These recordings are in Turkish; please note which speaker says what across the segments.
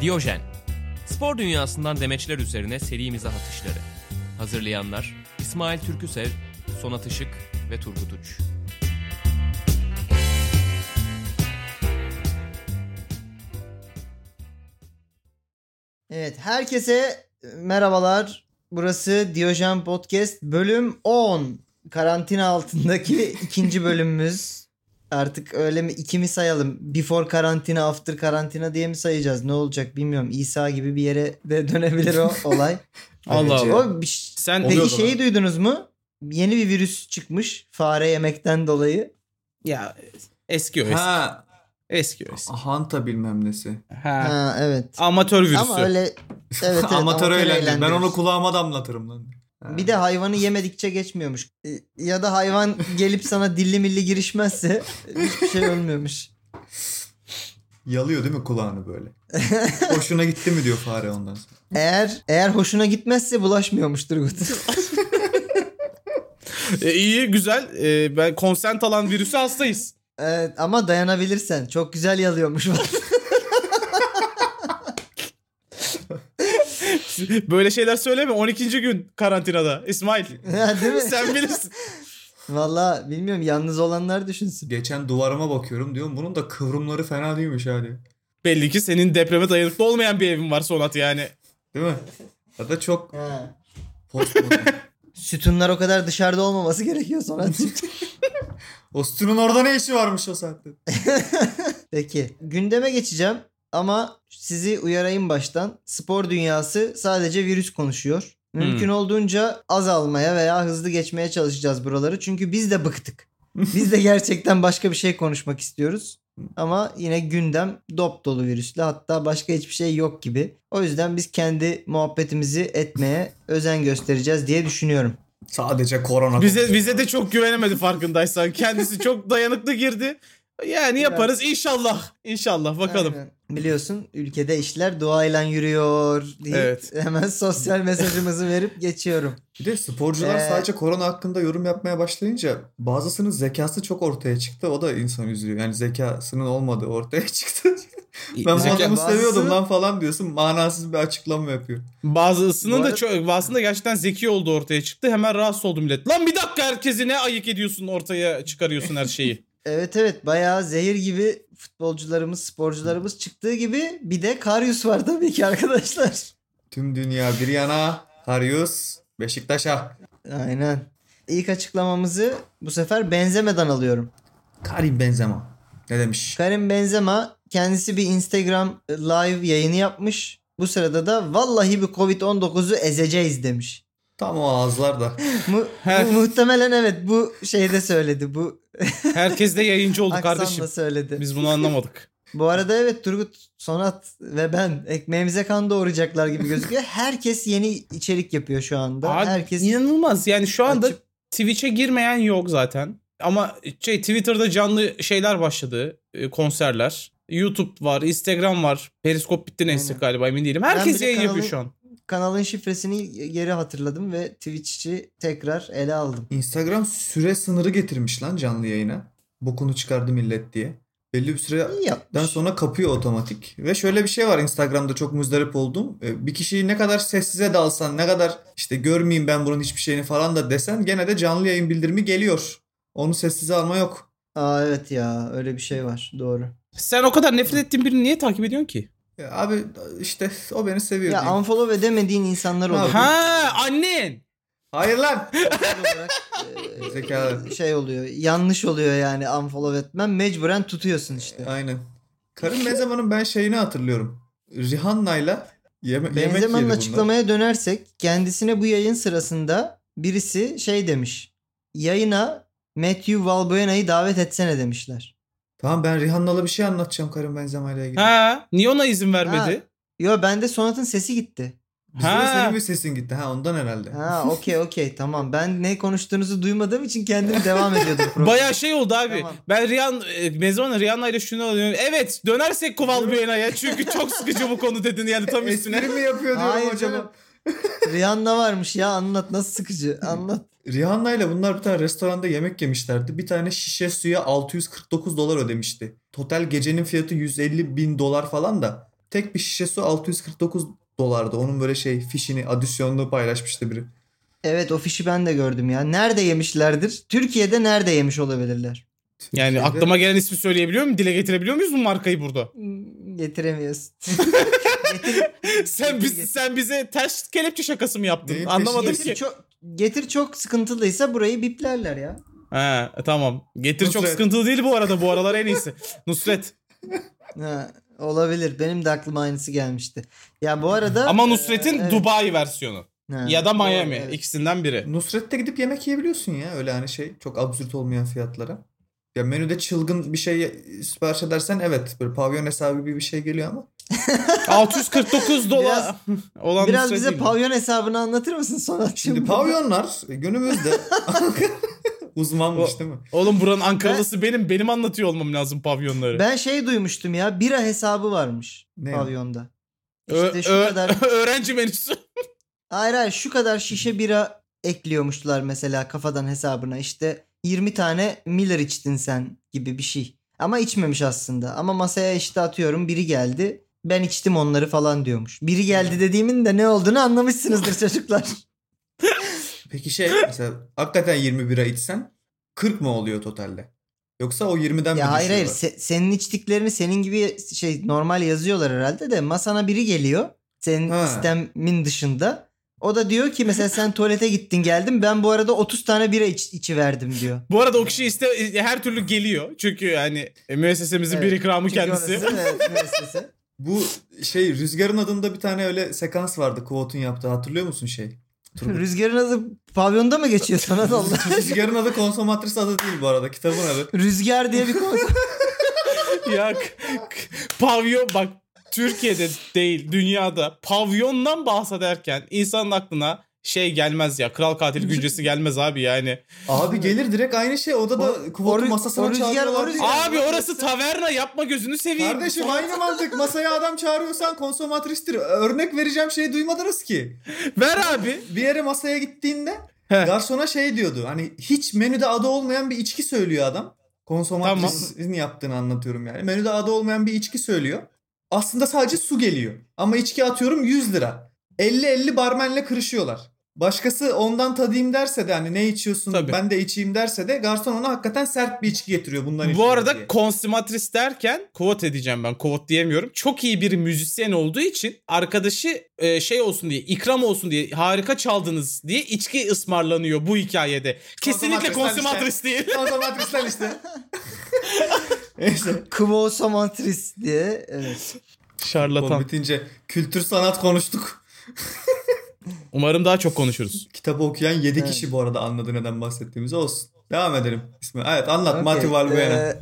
Speaker 1: Diyojen. Spor dünyasından demeçler üzerine serimize atışları. Hazırlayanlar İsmail Türküsev, Sonat Işık ve Turgut Uç.
Speaker 2: Evet herkese e, merhabalar. Burası Diyojen Podcast bölüm 10. Karantina altındaki ikinci bölümümüz. Artık öyle mi iki mi sayalım? Before karantina, after karantina diye mi sayacağız? Ne olacak bilmiyorum. İsa gibi bir yere de dönebilir o olay.
Speaker 3: Allah
Speaker 2: Ayrıca-
Speaker 3: Allah.
Speaker 2: O bir-
Speaker 3: Sen
Speaker 2: Peki
Speaker 3: peki
Speaker 2: şeyi duydunuz mu? Yeni bir virüs çıkmış fare yemekten dolayı.
Speaker 3: ya eski o eski.
Speaker 4: Ha,
Speaker 3: Eski o eski.
Speaker 4: Hanta bilmem nesi.
Speaker 3: Ha.
Speaker 2: Ha, evet.
Speaker 3: Amatör virüsü.
Speaker 2: Ama öyle evet, evet
Speaker 4: amatör eğlence. Ben onu
Speaker 2: eğlendiriyoruz.
Speaker 4: kulağıma damlatırım lan. Ha.
Speaker 2: Bir de hayvanı yemedikçe geçmiyormuş. E, Ya da hayvan gelip sana dilli milli girişmezse hiçbir şey olmuyormuş.
Speaker 4: yalıyor değil mi kulağını böyle? Hoşuna gitti mi diyor fare ondan sonra.
Speaker 2: Eğer eğer hoşuna gitmezse bulaşmıyormuş Turgut.
Speaker 3: iyi güzel. E, ben konsent alan virüsü hastayız.
Speaker 2: evet, ama dayanabilirsen çok güzel yalıyormuş.
Speaker 3: Böyle şeyler söyleme. 12. gün karantinada. İsmail.
Speaker 2: Ha, Değil mi?
Speaker 3: Sen bilirsin.
Speaker 2: Valla bilmiyorum yalnız olanlar düşünsün.
Speaker 4: Geçen duvarıma bakıyorum diyorum bunun da kıvrımları fena değilmiş hali.
Speaker 3: Belli ki senin depreme dayanıklı olmayan bir evin var Sonat yani.
Speaker 4: Değil mi? Ya da çok
Speaker 2: Ha.
Speaker 4: postmodern.
Speaker 2: Sütunlar o kadar dışarıda olmaması gerekiyor sonra.
Speaker 4: o sütunun orada ne işi varmış o saatte?
Speaker 2: Peki gündeme geçeceğim ama sizi uyarayım baştan. Spor dünyası sadece virüs konuşuyor. Mümkün olduğunca azalmaya veya hızlı geçmeye çalışacağız buraları. Çünkü biz de bıktık. Biz de gerçekten başka bir şey konuşmak istiyoruz. Ama yine gündem dop dolu virüsle hatta başka hiçbir şey yok gibi. O yüzden biz kendi muhabbetimizi etmeye özen göstereceğiz diye düşünüyorum.
Speaker 4: Sadece korona.
Speaker 3: Bize bize de çok güvenemedi farkındaysan. Kendisi çok dayanıklı girdi. Yani yaparız inşallah. İnşallah bakalım.
Speaker 2: Aynen. Biliyorsun ülkede işler duayla yürüyor diye
Speaker 3: Evet.
Speaker 2: hemen sosyal mesajımızı verip geçiyorum.
Speaker 4: Bir de sporcular
Speaker 2: Ee,
Speaker 4: sadece korona hakkında yorum yapmaya başlayınca bazısının zekası çok ortaya çıktı. O da insan üzülüyor. Yani zekasının olmadığı ortaya çıktı. ben bu
Speaker 3: Zeka-
Speaker 4: adamı
Speaker 2: bazısı-
Speaker 4: seviyordum lan falan diyorsun. Manasız bir açıklama yapıyor.
Speaker 3: Bazısının
Speaker 2: Bu
Speaker 3: da
Speaker 2: arada-
Speaker 3: çok, bazısının da gerçekten zeki olduğu ortaya çıktı. Hemen rahatsız oldu millet. Lan bir dakika herkesi ne ayık ediyorsun ortaya çıkarıyorsun her şeyi.
Speaker 2: Evet evet bayağı zehir gibi futbolcularımız, sporcularımız çıktığı gibi bir de Karyus var tabii ki arkadaşlar.
Speaker 4: Tüm dünya bir yana. Karius Beşiktaş'a.
Speaker 2: Aynen. İlk açıklamamızı bu sefer Benzema'dan alıyorum.
Speaker 4: Karim Benzema. Ne demiş?
Speaker 2: Karim Benzema kendisi bir Instagram live yayını yapmış. Bu sırada da vallahi bir Covid-19'u ezeceğiz demiş.
Speaker 4: Tam o ağızlar da.
Speaker 2: Mu-
Speaker 3: Heh.
Speaker 2: bu muhtemelen evet bu şeyde söyledi. Bu
Speaker 3: Herkes de yayıncı oldu
Speaker 2: aksanla
Speaker 3: kardeşim.
Speaker 2: söyledi.
Speaker 3: Biz bunu anlamadık.
Speaker 2: Bu arada evet Turgut, Sonat ve ben ekmeğimize kan doğuracaklar gibi gözüküyor. Herkes yeni içerik yapıyor şu anda.
Speaker 3: Abi,
Speaker 2: Herkes
Speaker 3: inanılmaz. Yani şu anda
Speaker 2: Açıp-
Speaker 3: Twitch'e girmeyen yok zaten. Ama şey Twitter'da canlı şeyler başladı. e, Konserler. YouTube var, Instagram var. Periskop bitti neyse
Speaker 2: Aynen.
Speaker 3: galiba emin değilim. Herkes
Speaker 2: bile
Speaker 3: yayın yapıyor
Speaker 2: kanalı-
Speaker 3: şu an.
Speaker 2: kanalın şifresini geri hatırladım ve Twitch'i tekrar ele aldım.
Speaker 4: Instagram süre sınırı getirmiş lan canlı yayına. Bokunu çıkardı millet diye. Belli bir süre
Speaker 2: İyi yapmış.
Speaker 4: Den sonra kapıyor otomatik. Ve şöyle bir şey var Instagram'da çok muzdarip oldum. Ee, Bir kişiyi ne kadar sessize dalsan, ne kadar işte görmeyeyim ben bunun hiçbir şeyini falan da desen gene de canlı yayın bildirimi geliyor. Onu sessize alma yok.
Speaker 2: Aa evet ya öyle bir şey var. Doğru.
Speaker 3: Sen o kadar nefret ettiğin birini niye takip ediyorsun ki?
Speaker 4: Ya E, abi işte o beni seviyor.
Speaker 2: Ya
Speaker 4: diyeyim.
Speaker 2: unfollow edemediğin insanlar
Speaker 4: Ha,
Speaker 2: oluyor.
Speaker 3: Ha annen.
Speaker 4: Hayır lan.
Speaker 2: Doğal olarak, e,
Speaker 4: Zeka.
Speaker 2: şey oluyor. Yanlış oluyor yani unfollow etmen. Mecburen tutuyorsun işte.
Speaker 4: Aynen. Karim Benzema'nın ben şeyini hatırlıyorum. Rihanna'yla yeme- yemek yedi
Speaker 2: Benzema'nın
Speaker 4: bunlar.
Speaker 2: açıklamaya dönersek kendisine bu yayın sırasında birisi şey demiş. Yayına Matthew Valbuena'yı davet etsene demişler.
Speaker 4: Tamam ben Rihanna'la bir şey anlatacağım Karim Benzema'yla ilgili.
Speaker 3: Ha niye ona izin vermedi?
Speaker 2: Yo bende Sonat'ın sesi gitti.
Speaker 4: Bizde de
Speaker 3: Ha.
Speaker 4: senin bir sesin gitti ha ondan herhalde.
Speaker 2: Ha okey okey tamam. Ben ne konuştuğunuzu duymadığım için kendim devam ediyordum. programa.
Speaker 3: Baya şey oldu abi.
Speaker 2: Tamam.
Speaker 3: Ben Rihanna, e, Mezona Rihanna ile şunu alıyorum. Evet dönersek Kovalbuena'ya çünkü çok sıkıcı bu konu dedin yani tam üstüne.
Speaker 4: Espri mi yapıyor diyorum
Speaker 2: Hayır
Speaker 4: acaba.
Speaker 2: canım. Rihanna varmış ya anlat nasıl sıkıcı anlat.
Speaker 4: Rihanna ile bunlar bir tane restoranda yemek yemişlerdi. Bir tane şişe suya 649 dolar ödemişti. Total gecenin fiyatı 150 bin dolar falan da. Tek bir şişe su 649 dolardı. Onun böyle şey fişini, adisyonunu paylaşmıştı biri.
Speaker 2: Evet o fişi ben de gördüm ya. Nerede yemişlerdir? Türkiye'de nerede yemiş olabilirler?
Speaker 3: Yani
Speaker 4: Türkiye'de-
Speaker 3: aklıma gelen ismi söyleyebiliyor muyum? Dile getirebiliyor muyuz bu markayı burada?
Speaker 2: Hmm, Getiremiyorsun.
Speaker 3: sen
Speaker 2: getir.
Speaker 3: biz, sen bize ters kelepçe şakası mı yaptın?
Speaker 4: Neyin
Speaker 3: Anlamadım
Speaker 4: peşindesin?
Speaker 3: ki.
Speaker 2: getir, çok, getir çok sıkıntılıysa burayı biplerler ya.
Speaker 3: He, tamam. Getir çok
Speaker 4: Nusret.
Speaker 3: sıkıntılı değil bu arada. Bu aralar en iyisi. Nusret.
Speaker 2: Ha, olabilir. Benim de aklıma aynısı gelmişti. Ya bu arada...
Speaker 3: Ama Nusret'in
Speaker 2: Ee, evet.
Speaker 3: Dubai versiyonu.
Speaker 2: Ha,
Speaker 3: ya da
Speaker 2: doğru,
Speaker 3: Miami.
Speaker 2: evet.
Speaker 3: İkisinden biri.
Speaker 4: Nusret'te gidip yemek yiyebiliyorsun ya öyle hani şey çok absürt olmayan fiyatlara. Ya menüde çılgın bir şey sipariş edersen evet böyle pavyon hesabı gibi bir şey geliyor ama
Speaker 3: 649 dolar olan
Speaker 2: Biraz
Speaker 3: Nusret
Speaker 2: bize
Speaker 3: değil mi?
Speaker 2: pavyon hesabını anlatır mısın Sonatçığım?
Speaker 4: şimdi pavyonlar e, günümüzde uzmanmış değil mi?
Speaker 3: Oğlum buranın Ankaralısı benim. Benim anlatıyor olmam lazım pavyonları.
Speaker 2: Ben şey duymuştum ya bira hesabı varmış
Speaker 4: Ne?
Speaker 2: pavyonda.
Speaker 3: Ö-
Speaker 2: İşte şu
Speaker 3: ö-
Speaker 2: kadar
Speaker 3: öğrenci menüsü.
Speaker 2: hayır hayır şu kadar şişe bira ekliyormuşlar mesela kafadan hesabına işte 20 tane Miller içtin sen gibi bir şey. Ama içmemiş aslında ama masaya işte atıyorum biri geldi ben içtim onları falan diyormuş. Biri geldi dediğimin de ne olduğunu anlamışsınızdır çocuklar.
Speaker 4: Peki şey mesela hakikaten 20 bira içsen 40 mı oluyor totalde? Yoksa o 20'den mi
Speaker 2: ya hayır hayır se-
Speaker 4: düşüyorlar?
Speaker 2: senin içtiklerini senin gibi şey normal yazıyorlar herhalde de masana biri geliyor senin
Speaker 4: Ha.
Speaker 2: sistemin dışında. O da diyor ki mesela sen tuvalete gittin geldin ben bu arada 30 tane bira iç, içi verdim diyor.
Speaker 3: Bu arada o kişi iste her türlü geliyor. Çünkü hani e, müessesemizin
Speaker 2: Evet.
Speaker 3: bir ikramı
Speaker 2: Çünkü
Speaker 3: kendisi.
Speaker 2: orası, evet, müessese.
Speaker 4: Bu şey Rüzgar'ın adında bir tane öyle sekans vardı Kovot'un yaptığı hatırlıyor musun şey? Turgut.
Speaker 2: Rüzgarın adı pavyonda mı geçiyor sana da Allah?
Speaker 4: Rüzgar'ın adı konsomatris adı değil bu arada kitabın adı.
Speaker 2: Rüzgar diye bir konsept.
Speaker 3: ya k- k- pavyon bak Türkiye'de değil dünyada pavyondan bahsederken insanın aklına şey gelmez ya kral katil güncesi gelmez abi yani.
Speaker 4: Abi gelir direkt aynı şey odada
Speaker 2: O- o
Speaker 4: Kovot'un
Speaker 2: rü- o
Speaker 4: masasına
Speaker 2: Rüzgar- o
Speaker 4: çağırıyorlar.
Speaker 2: Rüzgar-
Speaker 3: Abi orası taverna yapma gözünü seveyim.
Speaker 4: Kardeşim aynı mantık. Masaya adam çağırıyorsan konsomatristir. Örnek vereceğim şeyi duymadınız ki.
Speaker 3: Ver abi.
Speaker 4: Bir yere masaya gittiğinde
Speaker 3: He.
Speaker 4: garsona şey diyordu. Hani hiç menüde adı olmayan bir içki söylüyor adam. Konsomatrisin yaptığını anlatıyorum yani. Menüde adı olmayan bir içki söylüyor. Aslında sadece su geliyor. Ama içki atıyorum 100 lira. 50-50 barmenle kırışıyorlar. Başkası ondan tadayım derse de hani ne içiyorsun
Speaker 3: Tabii.
Speaker 4: ben de içeyim derse de garson ona hakikaten sert bir içki getiriyor bundan
Speaker 3: Bu
Speaker 4: içiyorum diye.
Speaker 3: arada konsumatris derken kovot edeceğim ben kovot diyemiyorum. Çok iyi bir müzisyen olduğu için arkadaşı e, şey olsun diye ikram olsun diye harika çaldınız diye içki ısmarlanıyor bu hikayede. Kesinlikle
Speaker 4: Konsumatrisler
Speaker 3: konsumatris değil.
Speaker 4: Konsomatrisler işte. Neyse.
Speaker 2: Kvosomatris diye. Evet.
Speaker 4: Konu
Speaker 3: Şarlatan.
Speaker 4: bitince kültür sanat konuştuk.
Speaker 3: Umarım daha çok konuşuruz.
Speaker 4: Kitabı okuyan 7
Speaker 2: Evet.
Speaker 4: kişi bu arada anladı neden bahsettiğimizi olsun. Devam edelim. İsmi. Evet anlat
Speaker 2: Okey,
Speaker 4: Mati Valbuena.
Speaker 2: ee,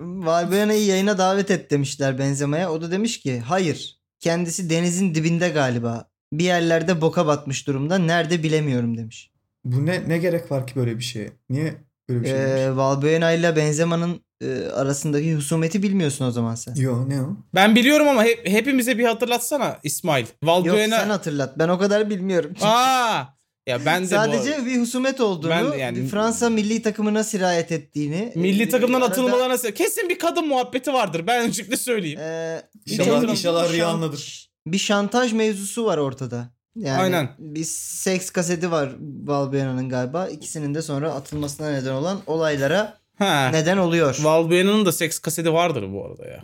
Speaker 2: Valbuena'yı yayına davet et demişler benzemeye. O da demiş ki hayır kendisi denizin dibinde galiba. Bir yerlerde boka batmış durumda. Nerede bilemiyorum demiş.
Speaker 4: Bu ne ne gerek var ki böyle bir şeye? Niye böyle bir şey?
Speaker 2: Ee,
Speaker 4: demiş?
Speaker 2: Valbuena ile Benzema'nın e, arasındaki husumeti bilmiyorsun o zaman sen.
Speaker 4: Yo ne o?
Speaker 3: Ben biliyorum ama hep, hepimize bir hatırlatsana İsmail.
Speaker 2: Yok sen
Speaker 3: Valbuena.
Speaker 2: hatırlat. Ben o kadar bilmiyorum.
Speaker 3: Aa! Ya ben de bu
Speaker 2: Sadece bir husumet olduğunu,
Speaker 3: Ben de yani-
Speaker 2: Fransa milli takımına sirayet ettiğini.
Speaker 3: milli
Speaker 2: e,
Speaker 3: takımdan
Speaker 2: arada-
Speaker 3: atılmalarına se- kesin bir kadın muhabbeti vardır. Ben öncelikle söyleyeyim.
Speaker 2: Ee,
Speaker 4: İnşallah-
Speaker 2: bir-
Speaker 4: inşallah
Speaker 2: bir
Speaker 4: Riya
Speaker 2: şan-
Speaker 4: anladır.
Speaker 2: Bir şantaj mevzusu var ortada. Yani
Speaker 3: Aynen.
Speaker 2: Bir seks kaseti var Valbuena'nın galiba. İkisinin de sonra atılmasına neden olan olaylara
Speaker 3: Ha.
Speaker 2: neden oluyor.
Speaker 3: Valbuena'nın da seks kaseti vardır bu arada ya.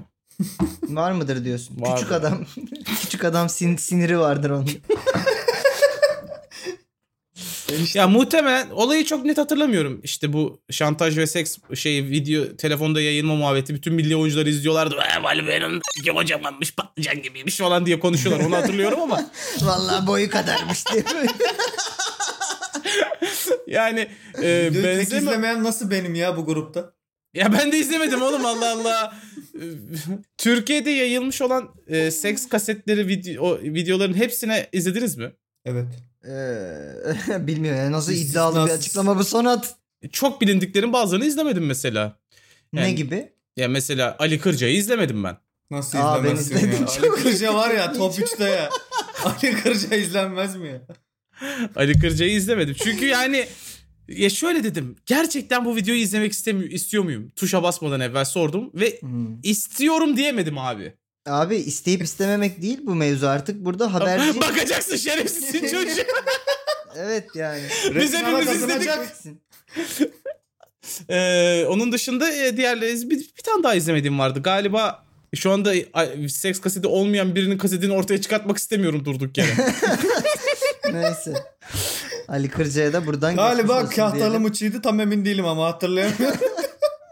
Speaker 2: var mıdır diyorsun.
Speaker 3: Vardır.
Speaker 2: Küçük adam küçük adam sin- siniri vardır onun.
Speaker 4: Enişte-
Speaker 3: Ya muhtemelen olayı çok net hatırlamıyorum. İşte bu şantaj ve seks şey video telefonda yayılma muhabbeti bütün milli oyuncuları izliyorlardı. "Ee, Valbuena'nın da kocamanmış patlıcan gibiymiş falan diye konuşuyorlar. Onu hatırlıyorum ama
Speaker 2: Vallahi boyu kadarmış diye.
Speaker 3: yani e,
Speaker 4: Videoyu tek
Speaker 3: benzeme...
Speaker 4: izlemeyen nasıl benim ya bu grupta?
Speaker 3: Ya ben de izlemedim oğlum Allah Allah. Türkiye'de yayılmış olan e, seks kasetleri video, o videoların hepsine izlediniz mi?
Speaker 4: Evet.
Speaker 2: Ee, bilmiyorum yani nasıl
Speaker 4: İstisnasız.
Speaker 2: iddialı bir açıklama bu sonat.
Speaker 3: Çok bilindiklerin bazılarını izlemedim mesela.
Speaker 2: ne
Speaker 3: Yani-
Speaker 2: gibi?
Speaker 3: Ya mesela Ali Kırca'yı izlemedim ben.
Speaker 4: Nasıl
Speaker 2: Aa, ben
Speaker 4: izlemezsin
Speaker 2: izledim,
Speaker 4: ya?
Speaker 2: çok
Speaker 4: Ali Kırca var ya top
Speaker 2: izledim.
Speaker 4: 3'te ya. Ali Kırca izlenmez mi ya?
Speaker 3: Ali Kırca'yı izlemedim. Çünkü yani ya şöyle dedim. Gerçekten bu videoyu izlemek istemiyor, istiyor muyum? Tuşa basmadan evvel sordum ve
Speaker 2: Hmm.
Speaker 3: istiyorum diyemedim abi.
Speaker 2: Abi isteyip istememek değil bu mevzu artık. Burada haberci...
Speaker 3: Bakacaksın şerefsizsin çocuğu.
Speaker 2: evet yani.
Speaker 3: Biz
Speaker 4: Resmen
Speaker 3: hepimiz
Speaker 4: kazanacak.
Speaker 3: izledik.
Speaker 2: Bakacaksın.
Speaker 3: Ee, onun dışında e, diğerleri bir, bir tane daha izlemediğim vardı. Galiba şu anda ay, seks kaseti olmayan birinin kasetini ortaya çıkartmak istemiyorum durduk yere.
Speaker 2: Neyse. Ali Kırca'ya da buradan geçmiş
Speaker 4: Galiba
Speaker 2: olsun diyelim.
Speaker 4: kahtalı mıçıydı tam emin değilim ama hatırlayamıyorum.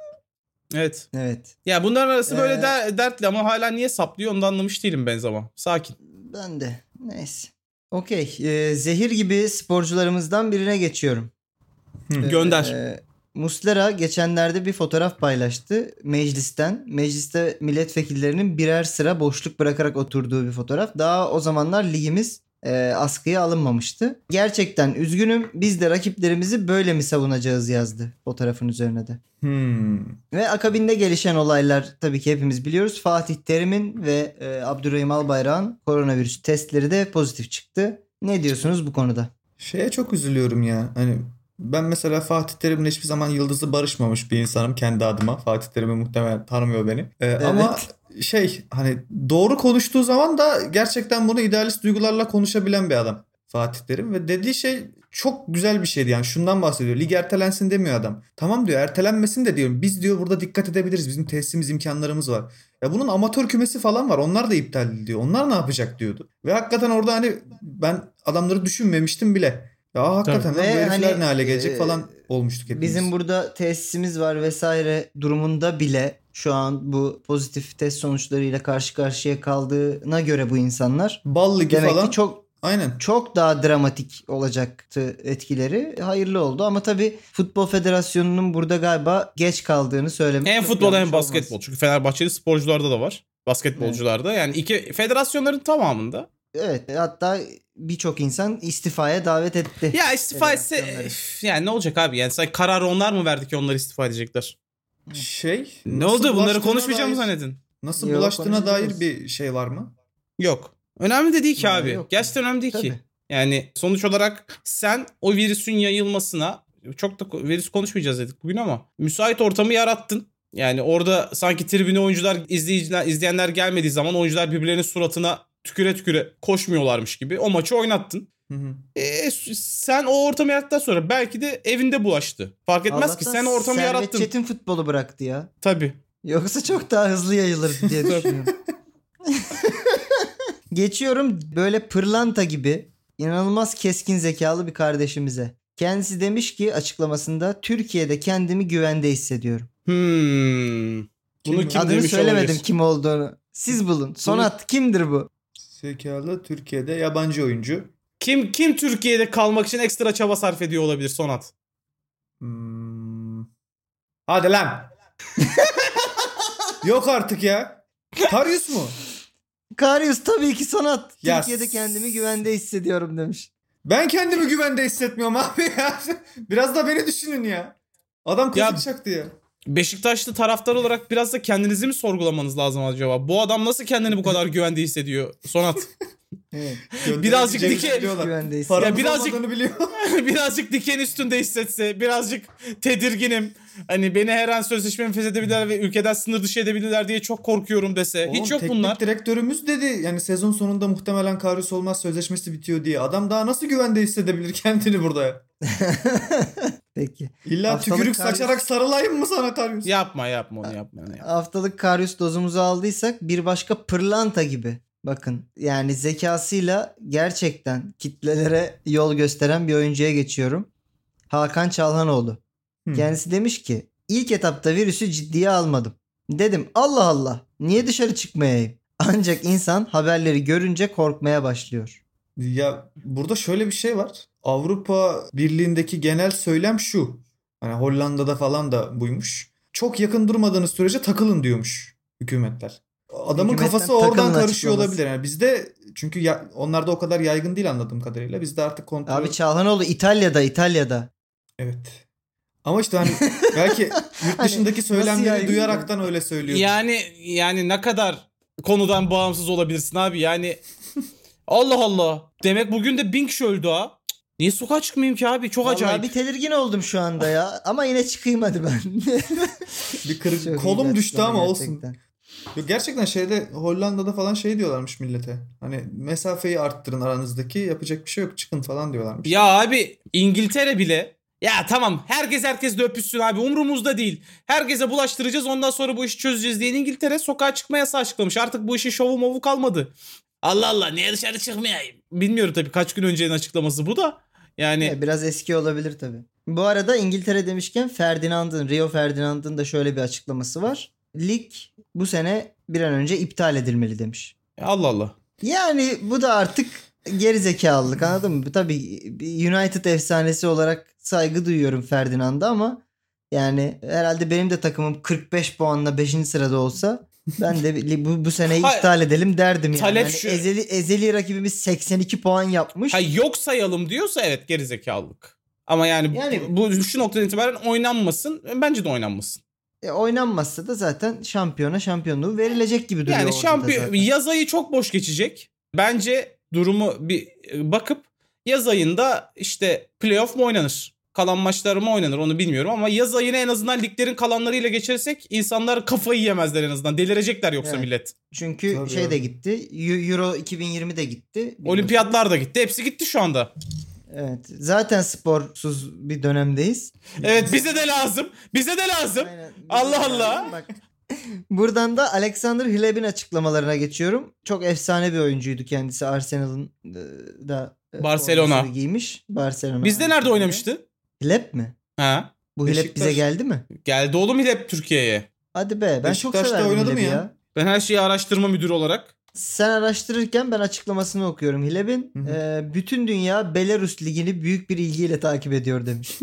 Speaker 3: evet.
Speaker 2: Evet.
Speaker 3: Ya bunların arası böyle
Speaker 2: Ee,
Speaker 3: der- dertli ama hala niye saplıyor onu da anlamış değilim ben zaman. Sakin.
Speaker 2: Ben de. Neyse. Okey. Ee, zehir gibi sporcularımızdan birine geçiyorum.
Speaker 4: Hı,
Speaker 2: Ee,
Speaker 3: gönder.
Speaker 2: e, Muslera geçenlerde bir fotoğraf paylaştı meclisten. Mecliste milletvekillerinin birer sıra boşluk bırakarak oturduğu bir fotoğraf. Daha o zamanlar ligimiz e, askıya alınmamıştı. Gerçekten üzgünüm biz de rakiplerimizi böyle mi savunacağız yazdı fotoğrafın üzerine de.
Speaker 4: Hmm.
Speaker 2: Ve akabinde gelişen olaylar tabii ki hepimiz biliyoruz. Fatih Terim'in ve e, Abdurrahim Albayrak'ın koronavirüs testleri de pozitif çıktı. Ne diyorsunuz bu konuda?
Speaker 4: Şeye çok üzülüyorum ya. Hani ben mesela Fatih Terim'le hiçbir zaman yıldızı barışmamış bir insanım kendi adıma. Fatih Terim'i muhtemelen tanımıyor beni. Ee, Ama şey hani doğru konuştuğu zaman da gerçekten bunu idealist duygularla konuşabilen bir adam Fatih Terim. Ve dediği şey çok güzel bir şeydi yani şundan bahsediyor. Lig ertelensin demiyor adam. Tamam diyor ertelenmesin de diyorum. Biz diyor burada dikkat edebiliriz. Bizim tesisimiz imkanlarımız var. Ya bunun amatör kümesi falan var. Onlar da iptal ediliyor. Onlar ne yapacak diyordu. Ve hakikaten orada hani ben adamları düşünmemiştim bile. Ya hakikaten lan bu
Speaker 2: Ve
Speaker 4: herifler
Speaker 2: hani,
Speaker 4: ne hale gelecek
Speaker 2: e,
Speaker 4: falan olmuştuk hepimiz.
Speaker 2: Bizim burada tesisimiz var vesaire durumunda bile şu an bu pozitif test sonuçlarıyla karşı karşıya kaldığına göre bu insanlar
Speaker 4: Bal ligi
Speaker 2: demek
Speaker 4: falan.
Speaker 2: ki çok
Speaker 4: Aynen.
Speaker 2: çok daha dramatik olacaktı etkileri. Hayırlı oldu ama tabii Futbol Federasyonu'nun burada galiba geç kaldığını söylemek.
Speaker 3: Hem
Speaker 2: e, çok
Speaker 3: futbolda hem
Speaker 2: yanlış olmaz.
Speaker 3: basketbol. Çünkü Fenerbahçeli sporcularda da var. Basketbolcularda. Yani iki federasyonların tamamında.
Speaker 2: Evet hatta birçok insan istifaya davet etti.
Speaker 3: Ya istifa etse
Speaker 2: Federasyonları.
Speaker 3: üf, yani ne olacak abi? Yani sen kararı onlar mı verdi ki onlar istifa edecekler?
Speaker 4: Şey.
Speaker 3: Ne
Speaker 4: nasıl
Speaker 3: oldu? Bunları
Speaker 4: bulaştığına
Speaker 3: konuşmayacağımı
Speaker 4: dair-
Speaker 3: zannedin.
Speaker 4: Nasıl
Speaker 2: Yok,
Speaker 4: bulaştığına dair
Speaker 2: konuşmayacağız.
Speaker 4: bir şey var mı?
Speaker 3: Yok. Önemli de değil ki
Speaker 2: Yani
Speaker 3: abi.
Speaker 2: yok.
Speaker 3: Gerçekten önemli değil ki.
Speaker 2: Tabii.
Speaker 3: Yani sonuç olarak sen o virüsün yayılmasına çok da ko- virüs konuşmayacağız dedik bugün ama müsait ortamı yarattın. Yani orada sanki tribüne oyuncular izleyiciler izleyenler gelmediği zaman oyuncular birbirlerinin suratına tüküre tüküre koşmuyorlarmış gibi o maçı oynattın.
Speaker 4: Hı hı.
Speaker 3: E, s- sen o ortamı yarattıktan sonra belki de evinde bulaştı. Fark etmez ki
Speaker 2: Allah'tan
Speaker 3: sen o ortamı
Speaker 2: Servet
Speaker 3: yarattın.
Speaker 2: Çetin futbolu bıraktı ya.
Speaker 3: Tabii.
Speaker 2: Yoksa çok daha hızlı yayılır diye düşünüyorum. Geçiyorum böyle pırlanta gibi inanılmaz keskin zekalı bir kardeşimize. Kendisi demiş ki açıklamasında Türkiye'de kendimi güvende hissediyorum.
Speaker 3: Hmm. Bunu
Speaker 4: Kim-
Speaker 3: kim
Speaker 2: Adını
Speaker 3: demiş
Speaker 2: söylemedim
Speaker 3: olabilir?
Speaker 2: kim olduğunu. Siz bulun. Sonat kimdir bu?
Speaker 4: Zekalı Türkiye'de yabancı oyuncu.
Speaker 3: Kim kim Türkiye'de kalmak için ekstra çaba sarf ediyor olabilir Sonat?
Speaker 4: Hmm. Hadi lan. Yok artık ya. Karius mu?
Speaker 2: Karius tabii ki Sonat.
Speaker 4: Ya
Speaker 2: Türkiye'de
Speaker 4: s-
Speaker 2: kendimi güvende hissediyorum demiş.
Speaker 4: Ben kendimi güvende hissetmiyorum abi ya. Biraz da beni düşünün ya. Adam
Speaker 3: Ya-
Speaker 4: kazık çaktı ya.
Speaker 3: Beşiktaşlı taraftar olarak biraz da kendinizi mi sorgulamanız lazım acaba? Bu adam nasıl kendini bu kadar güvende hissediyor Sonat?
Speaker 2: Evet.
Speaker 3: Birazcık
Speaker 4: Gönderecek
Speaker 3: dike-
Speaker 4: biliyorlar.
Speaker 2: Güvende hissediyorum.
Speaker 4: Paramız
Speaker 3: Ya birazcık-
Speaker 4: olmadığını biliyor.
Speaker 3: birazcık diken üstünde hissetse, birazcık tedirginim. Hani beni her an sözleşmemi feshedebilirler ve ülkeden sınır dışı edebilirler diye çok korkuyorum dese.
Speaker 4: Oğlum,
Speaker 3: Hiç yok
Speaker 4: teknik
Speaker 3: bunlar.
Speaker 4: direktörümüz dedi yani sezon sonunda muhtemelen Karius olmaz sözleşmesi bitiyor diye. Adam daha nasıl güvende hissedebilir kendini burada?
Speaker 2: Peki.
Speaker 4: İlla
Speaker 2: Haftalık
Speaker 4: tükürük
Speaker 2: Karius-
Speaker 4: saçarak sarılayım mı sana Karius?
Speaker 3: Yapma yapma onu yapma. Onu yapma.
Speaker 2: Haftalık Karius dozumuzu aldıysak bir başka pırlanta gibi. Bakın yani zekasıyla gerçekten kitlelere yol gösteren bir oyuncuya geçiyorum. Hakan Çalhanoğlu.
Speaker 4: Hmm.
Speaker 2: Kendisi demiş ki ilk etapta virüsü ciddiye almadım. Dedim Allah Allah niye dışarı çıkmayayım? Ancak insan haberleri görünce korkmaya başlıyor.
Speaker 4: Ya burada şöyle bir şey var. Avrupa Birliği'ndeki genel söylem şu. Hani Hollanda'da falan da buymuş. Çok yakın durmadığınız sürece takılın diyormuş hükümetler. Adamın
Speaker 2: Hükümetten
Speaker 4: kafası oradan
Speaker 2: takılın
Speaker 4: karışıyor
Speaker 2: açıklaması.
Speaker 4: olabilir. Yani bizde çünkü ya, onlarda o kadar yaygın değil anladığım kadarıyla. Bizde artık kontrol.
Speaker 2: Abi Çalhanoğlu İtalya'da İtalya'da.
Speaker 4: Evet. Ama işte hani belki yurt
Speaker 2: Hani
Speaker 4: dışındaki
Speaker 2: nasıl
Speaker 4: söylemleri
Speaker 2: yaygın
Speaker 4: duyaraktan öyle söylüyor.
Speaker 3: Yani yani ne kadar konudan bağımsız olabilirsin abi yani. Allah Allah. Demek bugün de bin kişi öldü ha. Cık, Niye sokağa çıkmayayım ki abi? Çok acayip.
Speaker 2: Vallahi bir tedirgin oldum şu anda ya ama yine çıkayım hadi ben.
Speaker 4: bir
Speaker 2: Çok iyi
Speaker 4: kırık kolum düştü
Speaker 2: gerçekten,
Speaker 4: ama olsun.
Speaker 2: gerçekten.
Speaker 4: Yok, gerçekten şeyde Hollanda'da falan şey diyorlarmış millete. Hani mesafeyi arttırın aranızdaki yapacak bir şey yok çıkın falan diyorlarmış.
Speaker 3: Ya abi İngiltere bile ya tamam herkes herkesle öpüşsün abi umrumuzda değil. Herkese bulaştıracağız ondan sonra bu işi çözeceğiz diye İngiltere sokağa çıkma yasağı açıklamış. Artık bu işin şovu movu kalmadı. Allah Allah niye dışarı çıkmayayım? Bilmiyorum tabii kaç gün öncenin açıklaması bu da. Yani
Speaker 2: Ya Biraz eski olabilir tabii. Bu arada İngiltere demişken Ferdinand'ın, Rio Ferdinand'ın da şöyle bir açıklaması var. Lig bu sene bir an önce iptal edilmeli demiş.
Speaker 3: Allah Allah.
Speaker 2: Yani bu da artık gerizekalılık anladın mı? Tabii bir United efsanesi olarak saygı duyuyorum Ferdinand'a ama yani herhalde benim de takımım 45 puanla 5. sırada olsa ben de bir- bu, bu seneyi
Speaker 3: Hayır.
Speaker 2: iptal edelim derdim yani.
Speaker 3: Talep
Speaker 2: Hani
Speaker 3: şu-
Speaker 2: ezeli, ezeli rakibimiz 82 puan yapmış.
Speaker 3: Ha yok sayalım diyorsa evet gerizekalılık. Ama yani,
Speaker 2: Yani-
Speaker 3: bu şu noktadan itibaren oynanmasın. Bence de oynanmasın.
Speaker 2: E, oynanmazsa da zaten şampiyona şampiyonluğu verilecek gibi duruyor.
Speaker 3: Yani
Speaker 2: ortada
Speaker 3: şampiyon
Speaker 2: zaten.
Speaker 3: yaz ayı çok boş geçecek. Bence durumu bir e, bakıp yaz ayında işte playoff mu oynanır? Kalan maçlar mı oynanır onu bilmiyorum ama yaz ayını en azından liglerin kalanlarıyla geçersek insanlar kafayı yemezler en azından. Delirecekler yoksa
Speaker 2: Evet.
Speaker 3: millet.
Speaker 2: Çünkü
Speaker 4: Tabii
Speaker 2: şey
Speaker 4: abi.
Speaker 2: de gitti. Eu- Euro 2020 de gitti. Biliyorsun.
Speaker 3: Olimpiyatlar da gitti. Hepsi gitti şu anda.
Speaker 2: Evet. Zaten sporsuz bir dönemdeyiz.
Speaker 3: Evet bize de lazım. Bize de lazım.
Speaker 2: Aynen.
Speaker 3: Allah Allah.
Speaker 2: Bak. Buradan da Alexander Hleb'in açıklamalarına geçiyorum. Çok efsane bir oyuncuydu kendisi. Arsenal'ın e, da e,
Speaker 3: Barcelona.
Speaker 2: formasını giymiş. Barcelona.
Speaker 3: Bizde nerede
Speaker 2: Aynen.
Speaker 3: oynamıştı?
Speaker 2: Hleb mi?
Speaker 3: Ha?
Speaker 2: Bu Hleb
Speaker 4: Beşiktaş.
Speaker 2: bize geldi mi?
Speaker 3: Geldi oğlum hep Türkiye'ye.
Speaker 2: Hadi be. Ben çok
Speaker 4: Beşiktaş'ta
Speaker 2: severdim
Speaker 4: oynadı mı
Speaker 2: Hleb'i
Speaker 4: ya?
Speaker 2: ya.
Speaker 3: Ben her şeyi araştırma müdürü olarak.
Speaker 2: Sen araştırırken ben açıklamasını okuyorum. Hileb'in
Speaker 4: Hı hı.
Speaker 2: e, bütün dünya Belarus ligini büyük bir ilgiyle takip ediyor demiş.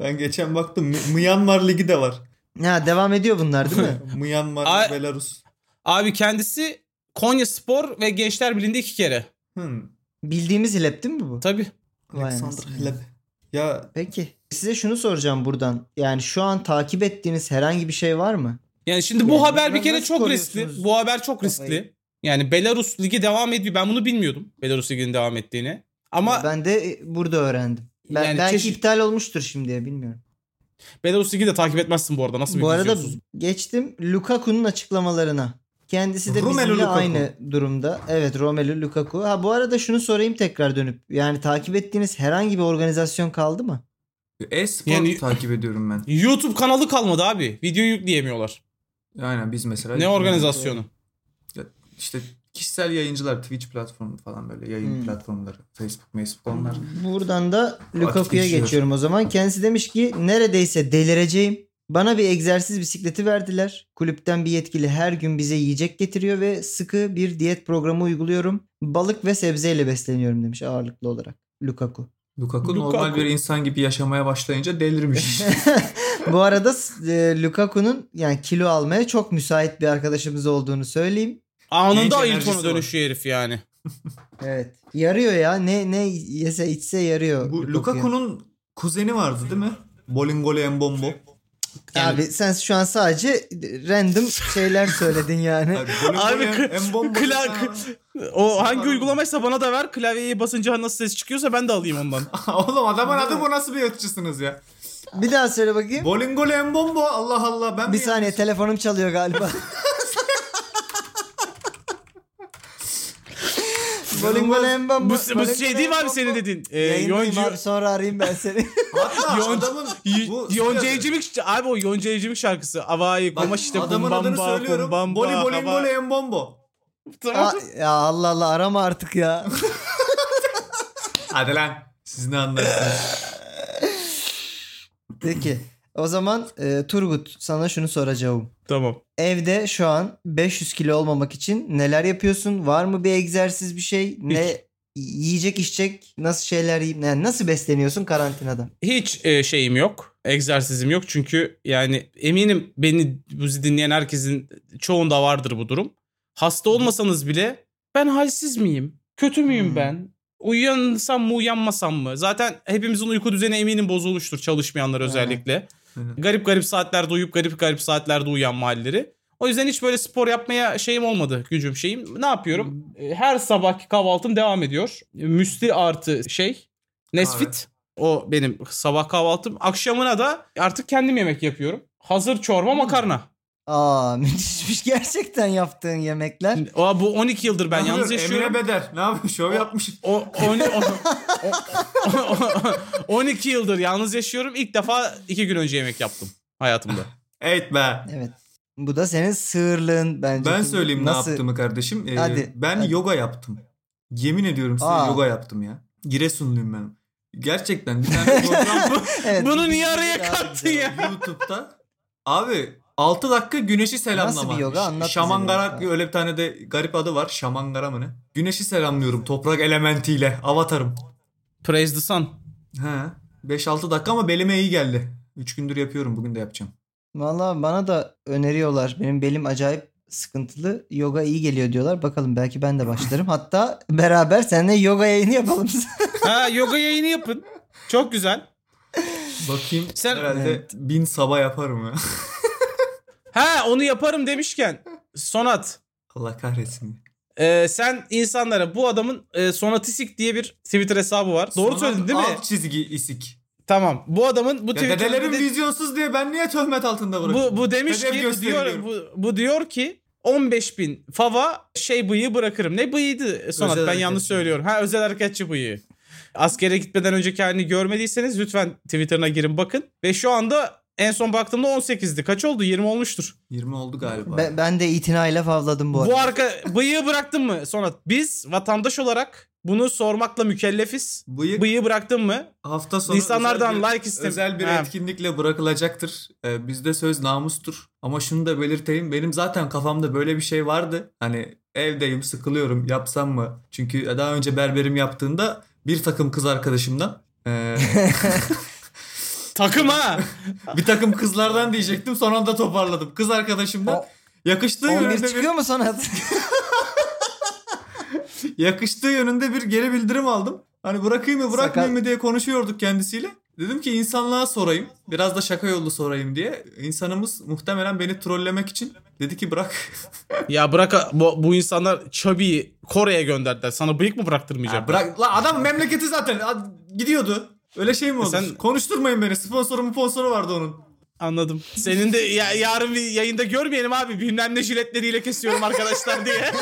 Speaker 4: Ben geçen baktım Mi- Myanmar Ligi de var.
Speaker 2: Ha devam ediyor bunlar değil mi?
Speaker 4: Myanmar,
Speaker 3: Ay-
Speaker 4: Belarus.
Speaker 3: Abi kendisi Konya Spor ve Gençler Birliği'nde iki kere.
Speaker 4: Hmm.
Speaker 2: Bildiğimiz Hileb değil mi bu?
Speaker 3: Tabii.
Speaker 2: Vay
Speaker 4: Alexander
Speaker 2: anasını.
Speaker 4: Hleb. Ya
Speaker 2: Peki. Size şunu soracağım buradan. Yani şu an takip ettiğiniz herhangi bir şey var mı?
Speaker 3: Yani şimdi bu
Speaker 2: Yani
Speaker 3: haber
Speaker 2: bunları
Speaker 3: bir kere
Speaker 2: nasıl
Speaker 3: çok
Speaker 2: koruyorsunuz?
Speaker 3: riskli. Bu haber çok riskli. Yani Belarus Ligi devam ediyor. Ben bunu bilmiyordum. Belarus Ligi'nin devam ettiğini. Ama
Speaker 2: Ben de e, burada öğrendim. Ben,
Speaker 3: Yani
Speaker 2: belki
Speaker 3: çeşit-
Speaker 2: iptal olmuştur şimdiye bilmiyorum.
Speaker 3: Belarus Ligi'ni de takip etmezsin bu arada. Nasıl bir
Speaker 2: Bu arada
Speaker 3: izliyorsun?
Speaker 2: geçtim Lukaku'nun açıklamalarına. Kendisi de
Speaker 4: Romelu
Speaker 2: bizimle
Speaker 4: Lukaku.
Speaker 2: aynı durumda. Evet Romelu Lukaku. Ha bu arada şunu sorayım tekrar dönüp. Yani takip ettiğiniz herhangi bir organizasyon kaldı mı?
Speaker 4: e-spor
Speaker 3: Yani-
Speaker 4: takip ediyorum ben.
Speaker 3: YouTube kanalı kalmadı abi. Video yükleyemiyorlar.
Speaker 4: Aynen biz mesela.
Speaker 3: Ne organizasyonu?
Speaker 4: İşte kişisel yayıncılar Twitch platformu falan böyle yayın
Speaker 2: Hmm.
Speaker 4: platformları. Facebook, Facebook onlar.
Speaker 2: Buradan da
Speaker 4: Vakit
Speaker 2: Lukaku'ya
Speaker 4: geçiyor.
Speaker 2: geçiyorum o zaman. Kendisi demiş ki neredeyse delireceğim. Bana bir egzersiz bisikleti verdiler. Kulüpten bir yetkili her gün bize yiyecek getiriyor ve sıkı bir diyet programı uyguluyorum. Balık ve sebzeyle besleniyorum demiş ağırlıklı olarak Lukaku.
Speaker 4: Lukaku,
Speaker 3: Lukaku.
Speaker 4: normal bir insan gibi yaşamaya başlayınca delirmiş.
Speaker 2: Bu arada e, Lukaku'nun yani kilo almaya çok müsait bir arkadaşımız olduğunu söyleyeyim.
Speaker 4: Genç
Speaker 3: Anında
Speaker 4: enerjisi
Speaker 3: Ailton'a
Speaker 4: var.
Speaker 3: dönüşüyor herif yani.
Speaker 2: Evet. Yarıyor ya. Ne ne yese içse yarıyor.
Speaker 4: Bu
Speaker 2: Lukaku'ya.
Speaker 4: Lukaku'nun kuzeni vardı değil mi? Bolingole Embombo.
Speaker 3: Yani-
Speaker 2: Abi sen şu an sadece random şeyler söyledin yani.
Speaker 4: Abi, Bolingole
Speaker 3: Abi, kı-
Speaker 4: Embombo.
Speaker 3: kla- O hangi
Speaker 4: Var mı?
Speaker 3: uygulamaysa bana da ver. Klavyeyi basınca nasıl ses çıkıyorsa ben de alayım ondan.
Speaker 4: Oğlum adamın adı bu nasıl bir yatışısınız ya?
Speaker 2: Bir daha söyle bakayım.
Speaker 4: Bolingole Embombo Allah Allah ben
Speaker 2: Bir
Speaker 4: mi-
Speaker 2: saniye telefonum çalıyor galiba. Bowling ball en bam-
Speaker 3: Bu, bu
Speaker 2: bowling
Speaker 3: şey
Speaker 2: ball
Speaker 3: değil
Speaker 2: en
Speaker 3: mi abi
Speaker 2: bam-
Speaker 3: senin dediğin? Ee,
Speaker 2: Yayındayım
Speaker 3: yoncu-
Speaker 2: abi, sonra arayayım ben seni.
Speaker 4: Hatta
Speaker 3: Yon-
Speaker 4: adamın
Speaker 3: Y-
Speaker 4: bu
Speaker 3: Yonca Evcimik abi o Yonca Evcimik şarkısı. Avai
Speaker 4: Bak,
Speaker 3: kumaş işte
Speaker 4: adamın
Speaker 3: kumbamba,
Speaker 4: adını söylüyorum.
Speaker 3: kumbamba,
Speaker 4: Boli Bolingole
Speaker 3: hava-
Speaker 4: Embombo.
Speaker 3: Tamam.
Speaker 2: Aa, ya Allah Allah arama artık ya.
Speaker 4: Hadi lan. Siz ne anlarsınız?
Speaker 2: Peki. O zaman e, Turgut sana şunu soracağım.
Speaker 3: Tamam.
Speaker 2: Evde şu an 500 kilo olmamak için neler yapıyorsun? Var mı bir egzersiz bir şey? Ne yiyecek içecek? Nasıl şeyler yiyip yani nasıl besleniyorsun karantinada?
Speaker 3: Hiç e, şeyim yok. Egzersizim yok çünkü yani eminim beni bizi dinleyen herkesin çoğunda vardır bu durum. Hasta olmasanız bile ben halsiz miyim? Kötü müyüm
Speaker 2: Hmm.
Speaker 3: ben? Uyansam mı uyanmasam mı? Zaten hepimizin uyku düzeni eminim bozulmuştur çalışmayanlar
Speaker 2: Evet.
Speaker 3: özellikle.
Speaker 4: Evet.
Speaker 3: Garip garip saatlerde uyuyup garip garip saatlerde uyanma halleri. O yüzden hiç böyle spor yapmaya şeyim olmadı gücüm şeyim. Ne yapıyorum? E, Her sabahki kahvaltım devam ediyor. Müsli artı şey Nesfit. O benim sabah kahvaltım. Akşamına da artık kendim yemek yapıyorum. Hazır çorba makarna.
Speaker 2: Aa müthişmiş gerçekten yaptığın yemekler.
Speaker 3: O, bu 12 yıldır ben
Speaker 4: Ne
Speaker 3: yalnız
Speaker 4: yapıyor?
Speaker 3: yaşıyorum.
Speaker 4: Emre Beder. Ne yapıyor? Şov yapmış.
Speaker 3: O, on- o- o- 12 yıldır yalnız yaşıyorum. İlk defa 2 gün önce yemek yaptım hayatımda.
Speaker 4: Evet be.
Speaker 2: Evet. Bu da senin sığırlığın bence.
Speaker 4: Ben söyleyeyim
Speaker 2: Nasıl-
Speaker 4: ne yaptığımı kardeşim. Ee,
Speaker 2: Hadi,
Speaker 4: ben
Speaker 2: hadi.
Speaker 4: yoga yaptım. Yemin ediyorum size
Speaker 2: Aa.
Speaker 4: yoga yaptım ya. Giresunluyum ben. Gerçekten bir tane program bu.
Speaker 2: Evet,
Speaker 3: Bunu
Speaker 2: bu-
Speaker 3: niye araya
Speaker 2: Daha
Speaker 3: kattın
Speaker 2: güzel
Speaker 3: ya?
Speaker 4: YouTube'da. Abi 6 dakika güneşi selamlama.
Speaker 2: Nasıl bir yoga? Anlat bize
Speaker 4: Şamangara
Speaker 2: biraz.
Speaker 4: öyle bir tane de garip adı var. Şamangara mı ne? Güneşi selamlıyorum toprak elementiyle. Avatarım.
Speaker 3: Praise the sun.
Speaker 4: He. 5-6 dakika ama belime iyi geldi. 3 gündür yapıyorum. Bugün de yapacağım.
Speaker 2: Valla bana da öneriyorlar. Benim belim acayip sıkıntılı. Yoga iyi geliyor diyorlar. Bakalım belki ben de başlarım. Hatta beraber seninle yoga yayını yapalım.
Speaker 3: Ha yoga yayını yapın. Çok güzel.
Speaker 4: Bakayım.
Speaker 3: Sen-
Speaker 4: herhalde
Speaker 2: Evet.
Speaker 4: 1000 sabah yaparım ya.
Speaker 3: Ha onu yaparım demişken Sonat
Speaker 4: Allah kahretsin.
Speaker 3: e, sen insanlara bu adamın e, Sonatisik diye bir Twitter hesabı var. Doğru
Speaker 4: Sonra
Speaker 3: söyledin değil mi?
Speaker 4: Alt çizgi isik.
Speaker 3: Tamam. Bu adamın bu
Speaker 4: Ya dedelerim
Speaker 3: Twitter'da
Speaker 4: vizyonsuz diye ben niye töhmet altında bırakıyorum?
Speaker 3: bu, bu demiş
Speaker 4: Hedef
Speaker 3: ki diyor,
Speaker 4: gösteriliyorum.
Speaker 3: bu, bu diyor ki 15 bin fava şey bıyığı bırakırım. Ne bıyığıydı Sonat
Speaker 4: Özel
Speaker 3: ben yanlış
Speaker 4: hareketçi.
Speaker 3: söylüyorum. Ha özel hareketçi bıyığı. Askere gitmeden önceki halini görmediyseniz lütfen Twitter'ına girin bakın. Ve şu anda en son baktığımda 18'di. Kaç oldu? 20 olmuştur.
Speaker 4: 20 oldu galiba.
Speaker 2: ben, ben de itinayla favladım bu
Speaker 3: Bu,
Speaker 2: arada.
Speaker 3: arka bıyığı bıraktın mı Sonat? Biz vatandaş olarak bunu sormakla mükellefiz.
Speaker 4: Bıyık
Speaker 3: Bıyığı bıraktın mı?
Speaker 4: hafta sonu
Speaker 3: İnsanlardan
Speaker 4: özel bir,
Speaker 3: like istem-
Speaker 4: özel bir
Speaker 3: Ha.
Speaker 4: etkinlikle bırakılacaktır. Ee, bizde söz namustur. Ama şunu da belirteyim. Benim zaten kafamda böyle bir şey vardı. Hani evdeyim sıkılıyorum yapsam mı? Çünkü daha önce berberim yaptığında bir takım kız arkadaşımdan e,
Speaker 3: Takım ha.
Speaker 4: bir takım kızlardan diyecektim. Son anda toparladım. Kız arkadaşımdan
Speaker 2: O-
Speaker 4: yakıştığı
Speaker 2: 11
Speaker 4: yönünde bir
Speaker 2: çıkıyor mu sana?
Speaker 4: yakıştığı yönünde bir geri bildirim aldım. Hani bırakayım mı bırakmayayım
Speaker 2: Sakal-
Speaker 4: mı diye konuşuyorduk kendisiyle. Dedim ki insanlığa sorayım. Biraz da şaka yollu sorayım diye. İnsanımız muhtemelen beni trollemek için dedi ki bırak.
Speaker 3: ya bırak bu, bu insanlar Chubby'yi Kore'ye gönderdiler. Sana bıyık mı bıraktırmayacak?
Speaker 4: Ya bırak. La adam memleketi zaten a- gidiyordu. Öyle şey mi olur?
Speaker 3: E sen-
Speaker 4: Konuşturmayın beni. Sponsorum sponsoru vardı onun.
Speaker 3: Anladım. Senin de ya- yarın bir yayında görmeyelim abi. Bilmem ne jiletleriyle kesiyorum arkadaşlar diye.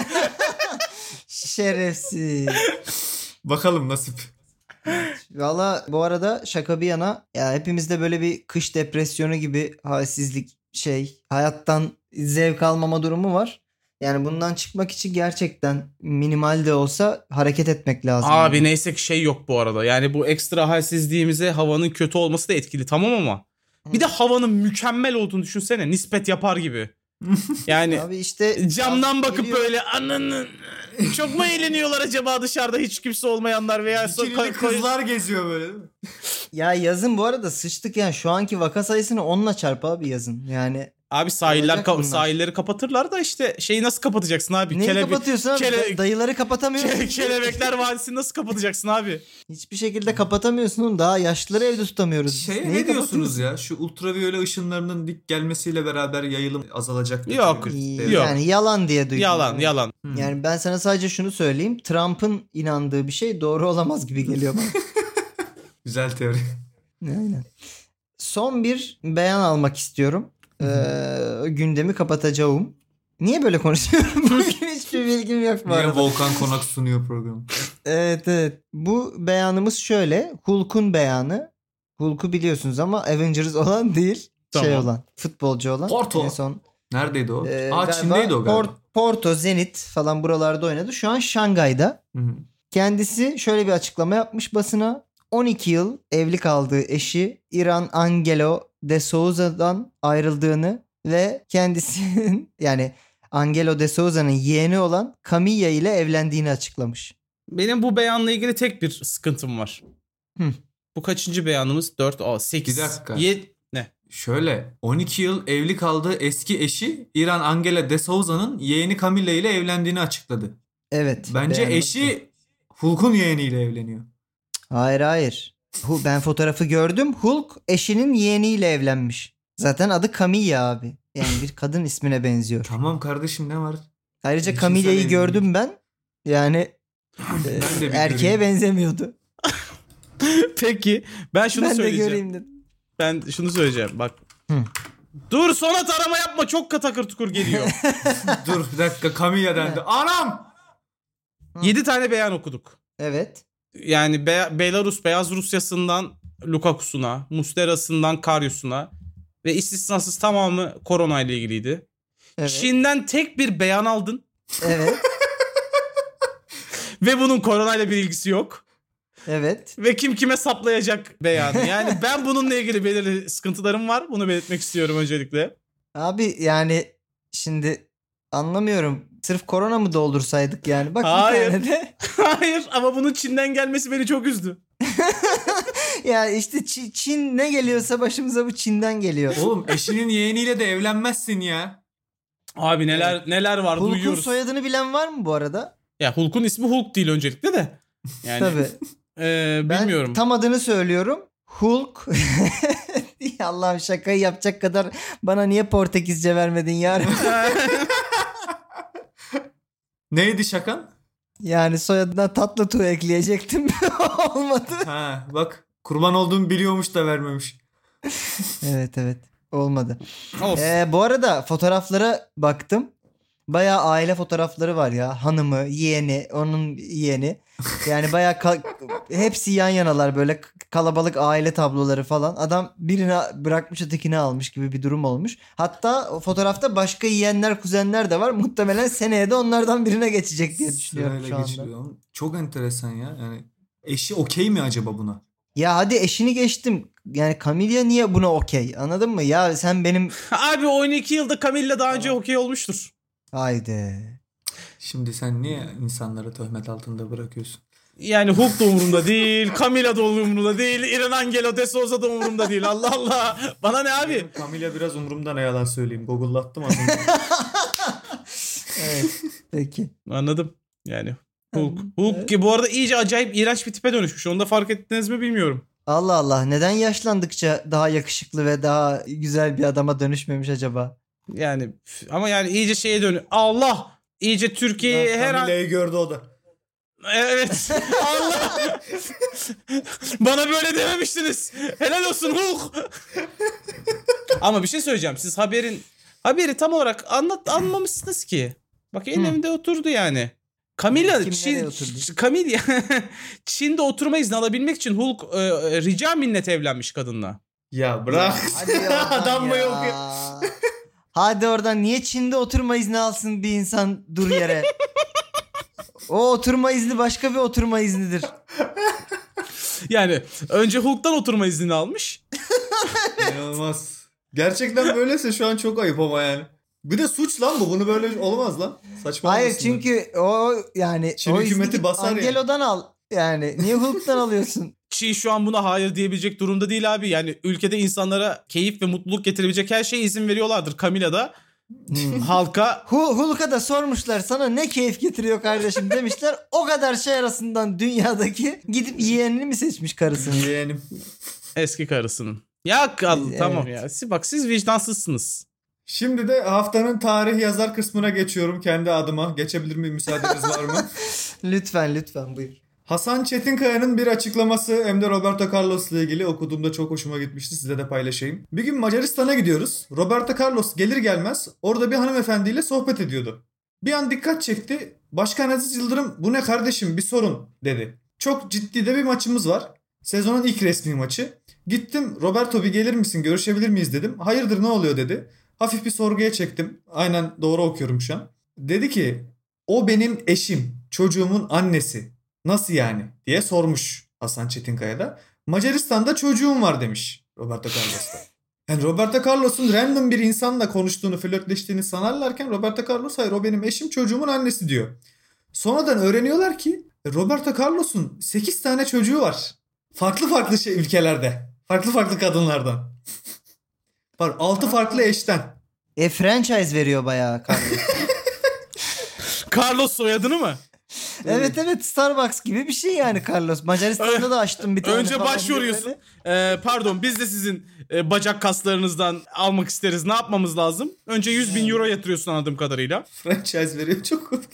Speaker 2: Şerefsiz.
Speaker 4: Bakalım nasip.
Speaker 2: Valla bu arada şaka bir yana ya hepimizde böyle bir kış depresyonu gibi halsizlik şey hayattan zevk almama durumu var. Yani bundan çıkmak için gerçekten minimal de olsa hareket etmek lazım.
Speaker 3: abi neyse ki şey yok bu arada. Yani bu ekstra halsizliğimize havanın kötü olması da etkili tamam ama. Bir de havanın mükemmel olduğunu düşünsene. Nispet yapar gibi. Yani
Speaker 2: Abi işte
Speaker 3: camdan bakıp
Speaker 2: Geliyor.
Speaker 3: böyle ananın çok mu eğleniyorlar acaba dışarıda hiç kimse olmayanlar veya so-
Speaker 4: Bikinili
Speaker 3: koy- koy-
Speaker 4: kızlar geziyor böyle. değil mi?
Speaker 2: Ya yazın bu arada sıçtık yani şu anki vaka sayısını onunla çarp abi yazın. Yani
Speaker 3: Abi sahiller
Speaker 2: Olacak
Speaker 3: ka-
Speaker 2: bunlar.
Speaker 3: sahilleri kapatırlar da işte şeyi nasıl kapatacaksın abi?
Speaker 2: neyi
Speaker 3: Kelebi-
Speaker 2: kapatıyorsun abi?
Speaker 3: kele-
Speaker 2: Dayıları kapatamıyorsun.
Speaker 3: Ke- Kelebekler Vadisi'ni nasıl kapatacaksın abi?
Speaker 2: Hiçbir şekilde kapatamıyorsun oğlum. Daha yaşlıları evde tutamıyoruz.
Speaker 4: Şey
Speaker 2: Neyi
Speaker 4: ne diyorsunuz
Speaker 2: kapatıyorsun?
Speaker 4: ya? Şu ultraviyole ışınlarının dik gelmesiyle beraber yayılım azalacak. diye
Speaker 3: Yok,
Speaker 4: bir-
Speaker 2: İyi,
Speaker 3: Yok.
Speaker 2: Yani yalan diye duydum.
Speaker 3: Yalan
Speaker 2: Yani.
Speaker 3: yalan.
Speaker 4: Hmm.
Speaker 2: Yani ben sana sadece şunu söyleyeyim. Trump'ın inandığı bir şey doğru olamaz gibi geliyor bana.
Speaker 4: Güzel teori.
Speaker 2: Aynen. Son bir beyan almak istiyorum. Ee, gündemi kapatacağım. Niye böyle konuşuyorum? Bugün hiçbir bilgim yok bu
Speaker 4: Niye
Speaker 2: arada.
Speaker 4: Volkan Konak sunuyor programı?
Speaker 2: Evet evet. Bu beyanımız şöyle. Hulk'un beyanı. Hulk'u biliyorsunuz ama Avengers olan değil. Şey
Speaker 3: Tamam.
Speaker 2: olan. Futbolcu olan.
Speaker 4: Porto.
Speaker 2: En son.
Speaker 4: Neredeydi o?
Speaker 2: Ee,
Speaker 4: Aa
Speaker 2: galiba
Speaker 4: Çin'deydi o galiba.
Speaker 2: Por- Porto, Zenit falan buralarda oynadı. Şu an Şangay'da.
Speaker 4: Hı hı.
Speaker 2: Kendisi şöyle bir açıklama yapmış basına. 12 yıl evli kaldığı eşi İran Angelo de Souza'dan ayrıldığını ve kendisinin yani Angelo de Souza'nın yeğeni olan Camilla ile evlendiğini açıklamış.
Speaker 3: Benim bu beyanla ilgili tek bir sıkıntım var.
Speaker 2: Hı.
Speaker 3: Bu kaçıncı beyanımız? 4, o 8.
Speaker 4: Bir dakika.
Speaker 3: ne?
Speaker 4: Şöyle 12 yıl evli kaldığı eski eşi İran Angela de Souza'nın yeğeni Camilla ile evlendiğini açıkladı.
Speaker 2: Evet.
Speaker 4: Bence
Speaker 2: beğendim.
Speaker 4: eşi Hulk'un yeğeniyle evleniyor.
Speaker 2: Hayır hayır. Hu- Ben fotoğrafı gördüm. Hulk eşinin yeğeniyle evlenmiş. Zaten adı Camilla abi. Yani bir kadın ismine benziyor.
Speaker 4: Tamam kardeşim ne var?
Speaker 2: Ayrıca
Speaker 4: Cinsel
Speaker 2: Camilla'yı
Speaker 4: evlilik.
Speaker 2: gördüm ben. Yani e,
Speaker 4: şey Ben de bir
Speaker 2: erkeğe
Speaker 4: göreyim.
Speaker 2: benzemiyordu.
Speaker 3: Peki ben şunu
Speaker 2: ben de
Speaker 3: söyleyeceğim.
Speaker 2: göreyim dedim.
Speaker 3: Ben şunu söyleyeceğim bak.
Speaker 2: Hı.
Speaker 3: Dur Sonat arama yapma çok katakır tukur geliyor.
Speaker 4: Dur bir dakika Camilla dendi. Anam!
Speaker 3: 7 tane beyan okuduk.
Speaker 2: Evet.
Speaker 3: Yani Be- Belarus Beyaz Rusya'sından Lukaku'suna, Mustera'sından Karyus'una ve istisnasız tamamı korona ile ilgiliydi.
Speaker 2: Evet.
Speaker 3: Çin'den tek bir beyan aldın
Speaker 2: Evet.
Speaker 3: ve bunun korona ile bir ilgisi yok.
Speaker 2: Evet.
Speaker 3: Ve kim kime saplayacak beyanı. Yani ben bununla ilgili belirli sıkıntılarım var. Bunu belirtmek istiyorum öncelikle.
Speaker 2: Abi yani şimdi anlamıyorum. Sırf korona mı doldursaydık yani? Bak
Speaker 3: Hayır.
Speaker 2: bir tane de.
Speaker 3: Hayır ama bunun Çin'den gelmesi beni çok üzdü.
Speaker 2: Ya işte Çi- Çin ne geliyorsa başımıza bu Çin'den geliyor.
Speaker 4: Oğlum eşinin yeğeniyle de evlenmezsin ya.
Speaker 3: Abi neler neler var
Speaker 2: Hulk'un
Speaker 3: duyuyoruz.
Speaker 2: soyadını bilen var mı bu arada?
Speaker 3: Ya Hulk'un ismi Hulk değil öncelikle de. Yani
Speaker 2: Tabii.
Speaker 3: e,
Speaker 2: Ben
Speaker 3: bilmiyorum.
Speaker 2: tam adını söylüyorum. Hulk. Allah'ım şakayı yapacak kadar bana niye Portekizce vermedin yar?
Speaker 4: Neydi şakan?
Speaker 2: yani soyadına tatlı tu ekleyecektim. Olmadı.
Speaker 4: Ha bak kurban olduğumu biliyormuş da vermemiş.
Speaker 2: Evet evet. Olmadı.
Speaker 3: Of.
Speaker 2: Ee, bu arada fotoğraflara baktım. Bayağı aile fotoğrafları var ya. Hanımı, yeğeni, onun yeğeni. Yani bayağı ka- hepsi yan yanalar böyle k- kalabalık aile tabloları falan. Adam birini bırakmış ötekini almış gibi bir durum olmuş. Hatta o fotoğrafta başka yeğenler, kuzenler de var. Muhtemelen seneye de onlardan birine geçecek diye düşünüyorum
Speaker 4: Sırayla
Speaker 2: şu anda.
Speaker 4: geçiliyor. Çok enteresan ya. Yani eşi okey mi acaba buna?
Speaker 2: Ya hadi eşini geçtim. Yani Camilla niye buna okey? Anladın mı? Ya sen benim...
Speaker 3: Abi 12 yılda Camilla daha önce okey olmuştur.
Speaker 2: Haydi.
Speaker 4: Şimdi sen niye insanları töhmet altında bırakıyorsun?
Speaker 3: Yani Hulk da umurumda değil, Camilla da umurumda değil, İren Angelo de Souza da umurumda değil. Allah Allah. Bana ne abi?
Speaker 4: Camila biraz umurumda ne yalan söyleyeyim. Google'lattım az önce.
Speaker 2: Evet. Peki.
Speaker 3: Anladım. Yani Hulk. Hulk ki bu arada iyice acayip iğrenç bir tipe dönüşmüş. Onu da fark ettiniz mi bilmiyorum.
Speaker 2: Allah Allah neden yaşlandıkça daha yakışıklı ve daha güzel bir adama dönüşmemiş acaba?
Speaker 3: Yani üf, ama yani iyice şeye dönüyor. Allah! İyice Türkiye'yi her an...
Speaker 4: Camila'yı gördü o da.
Speaker 3: E, Evet. Allah! Bana böyle dememiştiniz. Helal olsun Hulk. Ama bir şey söyleyeceğim. Siz haberin haberi tam olarak anlat anmamışsınız ki. Bak en
Speaker 2: Hı.
Speaker 3: önümde oturdu yani. Camilla
Speaker 2: Kim nereye
Speaker 3: Çin,
Speaker 2: oturdu?
Speaker 3: Ç- Camilla Çin'de oturma izni alabilmek için Hulk e, e, rica minnet evlenmiş kadınla.
Speaker 4: Ya bırak.
Speaker 2: Hadi oradan
Speaker 4: Adam mı
Speaker 2: ya.
Speaker 4: yok
Speaker 2: Hadi oradan niye Çin'de oturma izni alsın bir insan dur yere? o oturma izni başka bir oturma iznidir.
Speaker 3: Yani önce Hulk'tan oturma iznini almış.
Speaker 4: İnanılmaz. Gerçekten böylese şu an çok ayıp ama yani. Bir de suç lan bu. Bunu böyle olmaz lan. Saçma
Speaker 2: Hayır
Speaker 4: olmasın da.
Speaker 2: çünkü o yani
Speaker 4: Çin
Speaker 2: o
Speaker 4: hükümeti
Speaker 2: izni git
Speaker 4: basar ya.
Speaker 2: Angelo'dan al. Yani niye Hulk'tan alıyorsun?
Speaker 3: Çin şu an buna hayır diyebilecek durumda değil abi. Yani ülkede insanlara keyif ve mutluluk getirebilecek her şeye izin veriyorlardır. Camilla da
Speaker 2: Hmm.
Speaker 3: halka
Speaker 2: Hu- Hulk'a da sormuşlar sana ne keyif getiriyor kardeşim demişler. o kadar şey arasından dünyadaki gidip yeğenini mi seçmiş karısını?
Speaker 4: Yeğenim.
Speaker 3: eski karısının. Ya kal
Speaker 2: Evet.
Speaker 3: tamam ya. Siz, bak siz vicdansızsınız.
Speaker 4: Şimdi de haftanın tarih yazar kısmına geçiyorum kendi adıma. Geçebilir miyim müsaadeniz var mı?
Speaker 2: Lütfen lütfen buyur.
Speaker 4: Hasan Çetinkaya'nın bir açıklaması hem de Roberto Carlos'la ilgili okuduğumda çok hoşuma gitmişti. Size de paylaşayım. Bir gün Macaristan'a gidiyoruz. Roberto Carlos gelir gelmez orada bir hanımefendiyle sohbet ediyordu. Bir an dikkat çekti. Başkan Aziz Yıldırım bu ne kardeşim bir sorun dedi. Çok ciddi de bir maçımız var. Sezonun ilk resmi maçı. Gittim Roberto bir gelir misin görüşebilir miyiz dedim. Hayırdır ne oluyor dedi. Hafif bir sorguya çektim. Aynen doğru okuyorum şu an. Dedi ki o benim eşim çocuğumun annesi. Nasıl yani diye sormuş Hasan Çetinkaya da. Macaristan'da çocuğum var demiş Roberto Carlos'ta. Yani Roberto Carlos'un random bir insanla konuştuğunu, flörtleştiğini sanarlarken Roberto Carlos hayır o benim eşim çocuğumun annesi diyor. Sonradan öğreniyorlar ki Roberto Carlos'un 8 tane çocuğu var. Farklı farklı şey ülkelerde. Farklı farklı kadınlardan. Var 6 farklı eşten.
Speaker 2: E franchise veriyor bayağı kardeşim.
Speaker 3: Carlos soyadını mı?
Speaker 2: evet evet Starbucks gibi bir şey yani Carlos. Macaristan'da da açtım bir tane.
Speaker 3: Önce
Speaker 2: falan
Speaker 3: başvuruyorsun.
Speaker 2: diye
Speaker 3: Ee, pardon biz de sizin e, bacak kaslarınızdan almak isteriz. Ne yapmamız lazım? Önce 100 bin euro yatırıyorsun anladığım kadarıyla.
Speaker 4: Franchise veriyor çok komik.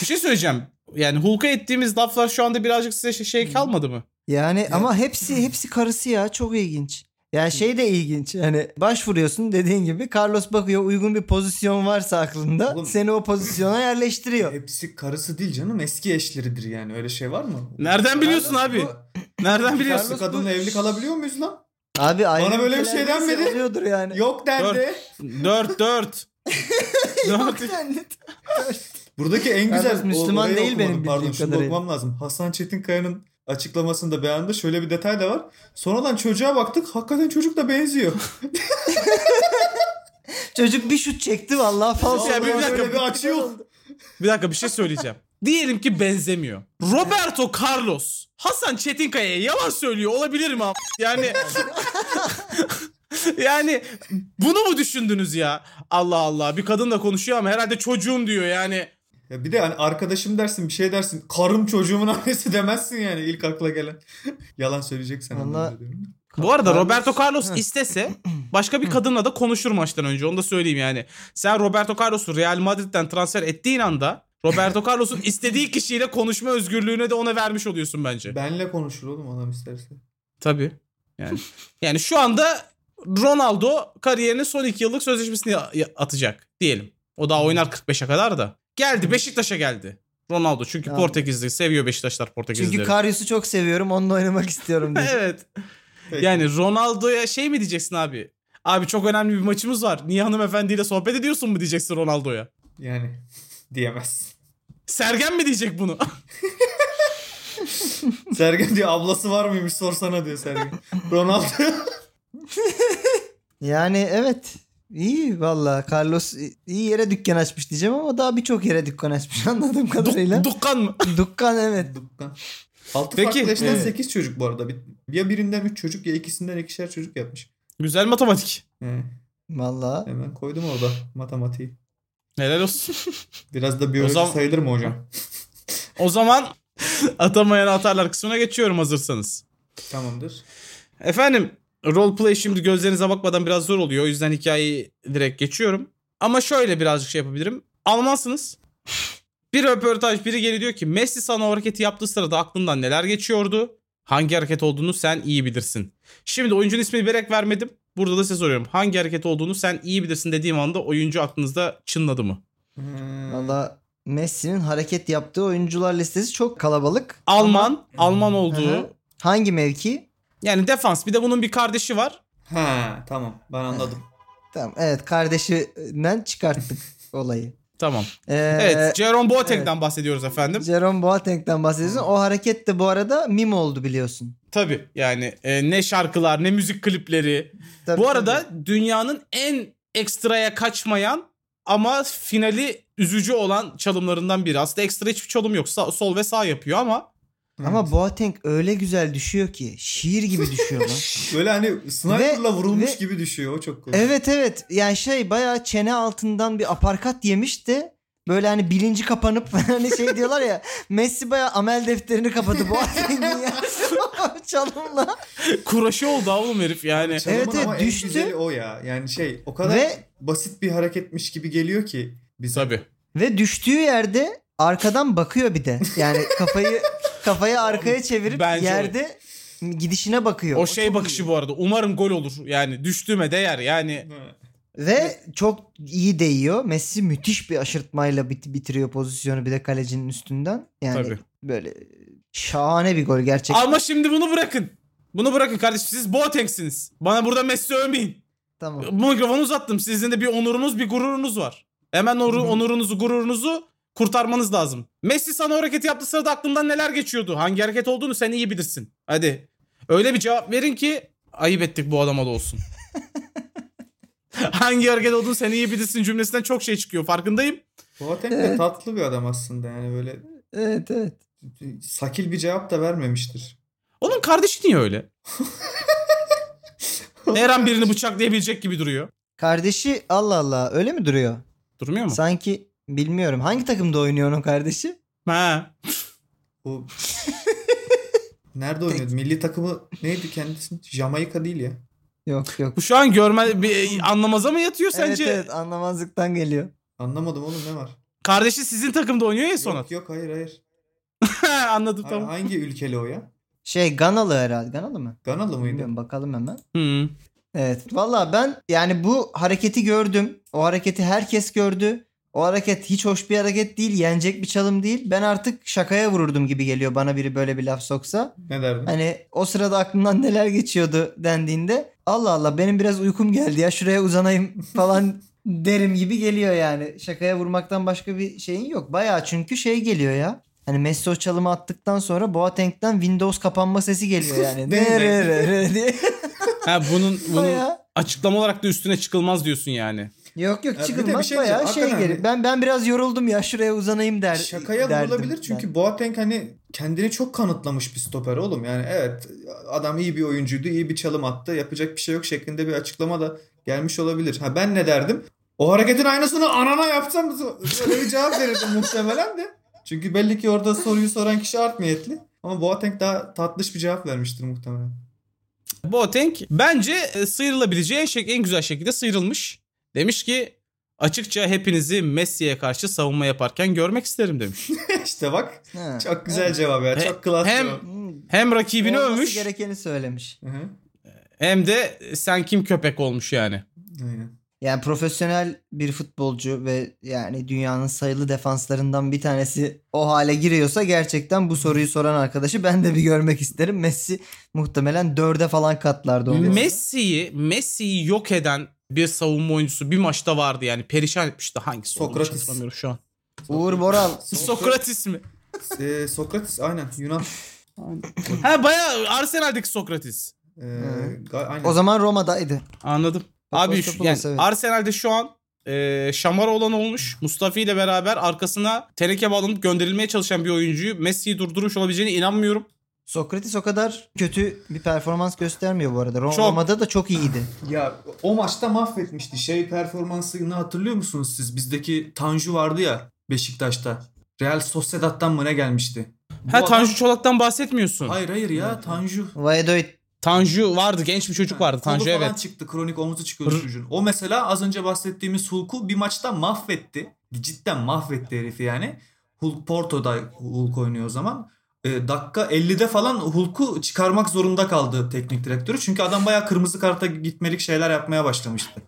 Speaker 3: Bir şey söyleyeceğim. Yani Hulk'a ettiğimiz laflar şu anda birazcık size şey- şey kalmadı mı?
Speaker 2: Yani ama hepsi hepsi karısı ya çok ilginç. Yani şey de ilginç. Hani başvuruyorsun dediğin gibi Carlos bakıyor uygun bir pozisyon varsa aklında
Speaker 4: Oğlum-
Speaker 2: seni o pozisyona yerleştiriyor.
Speaker 4: Hepsi karısı değil canım eski eşleridir yani öyle şey var mı?
Speaker 3: Nereden biliyorsun
Speaker 4: Carlos
Speaker 3: abi?
Speaker 4: bu-
Speaker 3: Nereden biliyorsun?
Speaker 4: Karısı kadınla evli kalabiliyor muyuz lan?
Speaker 2: Abi ayrı
Speaker 4: Bana böyle bir şey
Speaker 2: ülkelerde
Speaker 4: denmedi.
Speaker 2: seviyordur yani.
Speaker 4: Yok dendi.
Speaker 3: 4 4. 4
Speaker 2: Yani
Speaker 4: Buradaki en güzel
Speaker 2: Kardeş, Müslüman
Speaker 4: orayı
Speaker 2: değil benim bildiğim
Speaker 4: Pardon şunu
Speaker 2: kadarıyla.
Speaker 4: bakmam lazım. Hasan Çetinkaya'nın açıklamasını da beğendim. Şöyle bir detay da var. Sonradan çocuğa baktık. Hakikaten çocuk da benziyor.
Speaker 2: Çocuk bir şut çekti vallahi falso.
Speaker 3: Ya bir
Speaker 4: Vallahi
Speaker 3: dakika,
Speaker 4: böyle bir açı yok.
Speaker 3: Bir dakika bir şey söyleyeceğim. Diyelim ki benzemiyor. Roberto Carlos Hasan Çetinkaya'ya yalan söylüyor olabilir mi? am- Yani yani bunu mu düşündünüz ya? Allah Allah bir kadın da konuşuyor ama herhalde çocuğum diyor yani.
Speaker 4: Ya bir de hani arkadaşım dersin bir şey dersin. Karım çocuğumun annesi demezsin yani ilk akla gelen. Yalan söyleyeceksen.
Speaker 2: Vallahi-
Speaker 4: anlamında diyorum.
Speaker 3: Bu arada
Speaker 2: Carlos-
Speaker 3: Roberto Carlos
Speaker 2: Hı.
Speaker 3: istese başka bir kadınla da konuşur maçtan önce onu da söyleyeyim yani. Sen Roberto Carlos'u Real Madrid'den transfer ettiğin anda Roberto Carlos'un istediği kişiyle konuşma özgürlüğüne de ona vermiş oluyorsun bence.
Speaker 4: Benle konuşur oğlum adam isterse.
Speaker 3: Tabii. Yani yani şu anda Ronaldo kariyerinin son 2 yıllık sözleşmesini ya- ya- atacak diyelim. O daha oynar 45'e kadar da. Geldi Beşiktaş'a geldi. Ronaldo çünkü
Speaker 2: Ya.
Speaker 3: Portekizli seviyor Beşiktaşlar Portekizlileri.
Speaker 2: Çünkü Karius'u çok seviyorum onunla oynamak istiyorum dedi.
Speaker 3: evet.
Speaker 4: Peki.
Speaker 3: Yani Ronaldo'ya şey mi diyeceksin abi? Abi çok önemli bir maçımız var. Niye hanımefendiyle sohbet ediyorsun mu diyeceksin Ronaldo'ya?
Speaker 4: Yani diyemez.
Speaker 3: Sergen mi diyecek bunu?
Speaker 4: Sergen diyor ablası var mıymış sorsana diyor Sergen. Ronaldo.
Speaker 2: Yani evet. İyi vallahi Carlos iyi yere dükkan açmış diyeceğim ama daha birçok yere dükkan açmış anladığım kadarıyla.
Speaker 3: Duk- dukkan mı?
Speaker 2: Dükkan evet.
Speaker 4: Dukkan. Altı
Speaker 3: Peki,
Speaker 4: farklı eşten
Speaker 3: e-
Speaker 4: 8 çocuk bu arada. Bir- Ya birinden 3 çocuk ya ikisinden ikişer çocuk yapmış.
Speaker 3: Güzel matematik.
Speaker 4: He,
Speaker 2: Vallahi
Speaker 4: hemen koydum orada matematiği.
Speaker 3: Helal olsun.
Speaker 4: Biraz da biyoloji
Speaker 3: O zaman-
Speaker 4: sayılır mı hocam?
Speaker 3: o zaman atamayan atarlar kısmına geçiyorum hazırsanız.
Speaker 4: Tamamdır.
Speaker 3: Efendim roleplay şimdi gözlerinize bakmadan biraz zor oluyor. O yüzden hikayeyi direkt geçiyorum. Ama şöyle birazcık şey yapabilirim. Almansınız. Bir röportaj biri geliyor diyor ki Messi sana o hareketi yaptığı sırada aklından neler geçiyordu? Hangi hareket olduğunu sen iyi bilirsin. Şimdi oyuncunun ismini berek vermedim. Burada da size soruyorum. Hangi hareket olduğunu sen iyi bilirsin dediğim anda oyuncu aklınızda çınladı mı?
Speaker 4: Hmm.
Speaker 2: vallahi Messi'nin hareket yaptığı oyuncular listesi çok kalabalık.
Speaker 3: Alman, Alman olduğu.
Speaker 2: Aha. Hangi mevki?
Speaker 3: Yani defans. Bir de bunun bir kardeşi var.
Speaker 4: Ha tamam ben anladım.
Speaker 2: Tamam evet kardeşinden çıkarttık olayı.
Speaker 3: Tamam.
Speaker 2: Ee,
Speaker 3: Evet, Jerome Boateng'den bahsediyoruz efendim.
Speaker 2: Jerome Boateng'den bahsediyorsun. O hareket de bu arada mim oldu biliyorsun.
Speaker 3: Tabii yani e, ne şarkılar ne müzik klipleri.
Speaker 2: Tabii,
Speaker 3: Bu
Speaker 2: tabii.
Speaker 3: arada dünyanın en ekstraya kaçmayan ama finali üzücü olan çalımlarından biri. Aslında ekstra hiçbir çalım yok. Sa- sol ve sağ yapıyor ama
Speaker 2: ama Boateng öyle güzel düşüyor ki şiir gibi düşüyor lan.
Speaker 4: Böyle hani sniper'la
Speaker 2: Ve-
Speaker 4: vurulmuş
Speaker 2: ve-
Speaker 4: gibi düşüyor o çok komik.
Speaker 2: Evet evet. Yani şey bayağı çene altından bir aparkat yemiş de böyle hani bilinci kapanıp hani şey diyorlar ya Messi bayağı amel defterini kapadı Boateng'in ya. Çalımla.
Speaker 3: kuraşı oldu oğlum herif yani.
Speaker 4: Çalımın
Speaker 2: Evet, evet,
Speaker 4: ama
Speaker 2: düştü.
Speaker 4: En güzeli o ya. Yani şey o kadar
Speaker 2: Ve-
Speaker 4: basit bir hareketmiş gibi geliyor ki bize.
Speaker 3: Tabii.
Speaker 2: Ve düştüğü yerde arkadan bakıyor bir de. Yani kafayı kafayı arkaya çevirip
Speaker 3: Bence o-
Speaker 2: yerde gidişine bakıyor.
Speaker 3: O
Speaker 2: O
Speaker 3: şey
Speaker 2: çok
Speaker 3: bakışı
Speaker 2: iyi.
Speaker 3: bu arada. Umarım gol olur. Yani düştüğüme değer yani.
Speaker 4: Ha.
Speaker 2: Ve çok iyi değiyor. Messi müthiş bir aşırtmayla bit- bitiriyor pozisyonu bir de kalecinin üstünden. Yani
Speaker 3: Tabii.
Speaker 2: böyle şahane bir gol gerçekten.
Speaker 3: Ama şimdi bunu bırakın. Bunu bırakın kardeşim siz Boateng'siniz. Bana burada Messi övmeyin.
Speaker 2: tamam.
Speaker 3: Bu mikrofonu uzattım. Sizin de bir onurunuz, bir gururunuz var. Hemen oru- onurunuzu, gururunuzu kurtarmanız lazım. Messi sana o hareketi yaptığı sırada aklından neler geçiyordu? Hangi hareket olduğunu sen iyi bilirsin. Hadi. Öyle bir cevap verin ki ayıp ettik bu adama da olsun. Hangi hareket olduğunu sen iyi bilirsin cümlesinden çok şey çıkıyor farkındayım.
Speaker 4: Boateng de
Speaker 2: Evet.
Speaker 4: tatlı bir adam aslında yani böyle
Speaker 2: Evet evet.
Speaker 4: sakil bir cevap da vermemiştir.
Speaker 3: Onun kardeşi niye öyle? Her an birini bıçaklayabilecek gibi duruyor.
Speaker 2: Kardeşi Allah Allah öyle mi duruyor?
Speaker 3: Durmuyor mu?
Speaker 2: Sanki bilmiyorum. Hangi takımda oynuyor onun kardeşi?
Speaker 3: Ha.
Speaker 4: Bu Nerede oynuyordu? Milli takımı neydi kendisi? Jamaika değil ya.
Speaker 2: Yok yok.
Speaker 3: Bu şu an görme bir anlamaza mı yatıyor sence?
Speaker 2: Evet evet anlamazlıktan geliyor.
Speaker 4: Anlamadım oğlum ne var?
Speaker 3: Kardeşi sizin takımda oynuyor ya
Speaker 4: Yok
Speaker 3: Sonat.
Speaker 4: yok hayır hayır.
Speaker 3: Anladım
Speaker 4: Ha-
Speaker 3: tamam.
Speaker 4: Hangi ülkeli o ya?
Speaker 2: Şey Ganalı herhalde. Ganalı mı?
Speaker 4: Ganalı mıydı?
Speaker 2: Bilmiyorum bakalım hemen.
Speaker 3: Hı.
Speaker 2: Evet. Valla ben yani bu hareketi gördüm. O hareketi herkes gördü. O hareket hiç hoş bir hareket değil. Yenecek bir çalım değil. Ben artık şakaya vururdum gibi geliyor bana biri böyle bir laf soksa.
Speaker 4: Ne derdin?
Speaker 2: Hani o sırada aklımdan neler geçiyordu dendiğinde Allah Allah benim biraz uykum geldi ya şuraya uzanayım falan derim gibi geliyor yani. Şakaya vurmaktan başka bir şeyin yok. Bayağı çünkü şey geliyor ya. Hani Messi o çalımı attıktan sonra Boateng'den Windows kapanma sesi geliyor yani.
Speaker 4: Değil mi?
Speaker 2: Ne re re re diye.
Speaker 3: Ha bunun bunun
Speaker 2: Bayağı.
Speaker 3: açıklama olarak da üstüne çıkılmaz diyorsun yani.
Speaker 2: Yok
Speaker 4: Ya bir
Speaker 2: yok
Speaker 4: de
Speaker 2: çıkılmaz
Speaker 4: bir şey
Speaker 2: bayağı şey
Speaker 4: diyeceğim. Hakikaten
Speaker 2: gelir.
Speaker 4: hani-
Speaker 2: Ben ben biraz yoruldum ya şuraya uzanayım der.
Speaker 4: Şakaya
Speaker 2: derdim
Speaker 4: vurulabilir
Speaker 2: ben.
Speaker 4: çünkü Boateng hani kendini çok kanıtlamış bir stoper oğlum. Yani evet adam iyi bir oyuncuydu, iyi bir çalım attı. Yapacak bir şey yok şeklinde bir açıklama da gelmiş olabilir. Ha ben ne derdim? O hareketin aynısını anana yapsam böyle bir cevap verirdim muhtemelen de. Çünkü belli ki orada soruyu soran kişi art niyetli. Ama Boateng daha tatlış bir cevap vermiştir muhtemelen.
Speaker 3: Boateng bence e, sıyrılabileceği şek- en güzel şekilde sıyrılmış. Demiş ki açıkça hepinizi Messi'ye karşı savunma yaparken görmek isterim demiş.
Speaker 4: işte bak
Speaker 2: Ha.
Speaker 4: çok güzel cevap ya.
Speaker 3: He-
Speaker 4: Çok klas
Speaker 3: hem-
Speaker 4: cevap.
Speaker 2: Hmm.
Speaker 3: Hem rakibini
Speaker 2: Olması
Speaker 3: övmüş
Speaker 2: gerekeni söylemiş.
Speaker 4: Hı hı.
Speaker 3: hem de e, sen kim köpek olmuş yani.
Speaker 4: Aynen.
Speaker 2: Yani profesyonel bir futbolcu ve yani dünyanın sayılı defanslarından bir tanesi o hale giriyorsa gerçekten bu soruyu soran arkadaşı ben de bir görmek isterim. Messi muhtemelen dörde falan katlardı onu.
Speaker 3: Messi'yi Messi'yi yok eden bir savunma oyuncusu bir maçta vardı yani perişan etmişti hangisi olduğunu hiç
Speaker 4: Sokratis.
Speaker 3: hatırlamıyorum şu an.
Speaker 2: Uğur Boral.
Speaker 3: Sokratis mi?
Speaker 4: Ee, Sokrates aynen Yunan.
Speaker 3: Ha bayağı Arsenal'deki Sokratis.
Speaker 4: Ee, ga- aynen.
Speaker 2: O zaman Roma'daydı.
Speaker 3: Anladım. Abi şu, yani
Speaker 2: Papastapoulous, evet.
Speaker 3: Arsenal'de şu an e, şamar olan olmuş. Mustafi ile beraber arkasına teneke bağlanıp gönderilmeye çalışan bir oyuncuyu Messi'yi durdurmuş olabileceğine inanmıyorum.
Speaker 2: Sokratis o kadar kötü bir performans göstermiyor bu arada. Ro-
Speaker 3: Çok.
Speaker 2: Roma'da da çok iyiydi.
Speaker 4: Ya o maçta mahvetmişti. Şey performansını hatırlıyor musunuz siz? Bizdeki Tanju vardı ya Beşiktaş'ta. Real Sociedad'dan mı ne gelmişti? Bu
Speaker 3: ha
Speaker 4: adam-
Speaker 3: Tanju Çolak'tan bahsetmiyorsun.
Speaker 4: Hayır hayır ya Tanju.
Speaker 2: Valladolid
Speaker 3: Tanju vardı genç bir çocuk vardı
Speaker 4: Kolu
Speaker 3: Tanju
Speaker 4: falan
Speaker 3: evet.
Speaker 4: çıktı kronik omuzu çıkıyordu
Speaker 3: Hı.
Speaker 4: çocuğun. O mesela az önce bahsettiğimiz Hulk'u bir maçta mahvetti. Cidden mahvetti herifi yani. Hulk Porto'da Hulk oynuyor o zaman. E, dakika 50'de falan Hulk'u çıkarmak zorunda kaldı teknik direktörü. Çünkü adam bayağı kırmızı karta gitmelik şeyler yapmaya başlamıştı.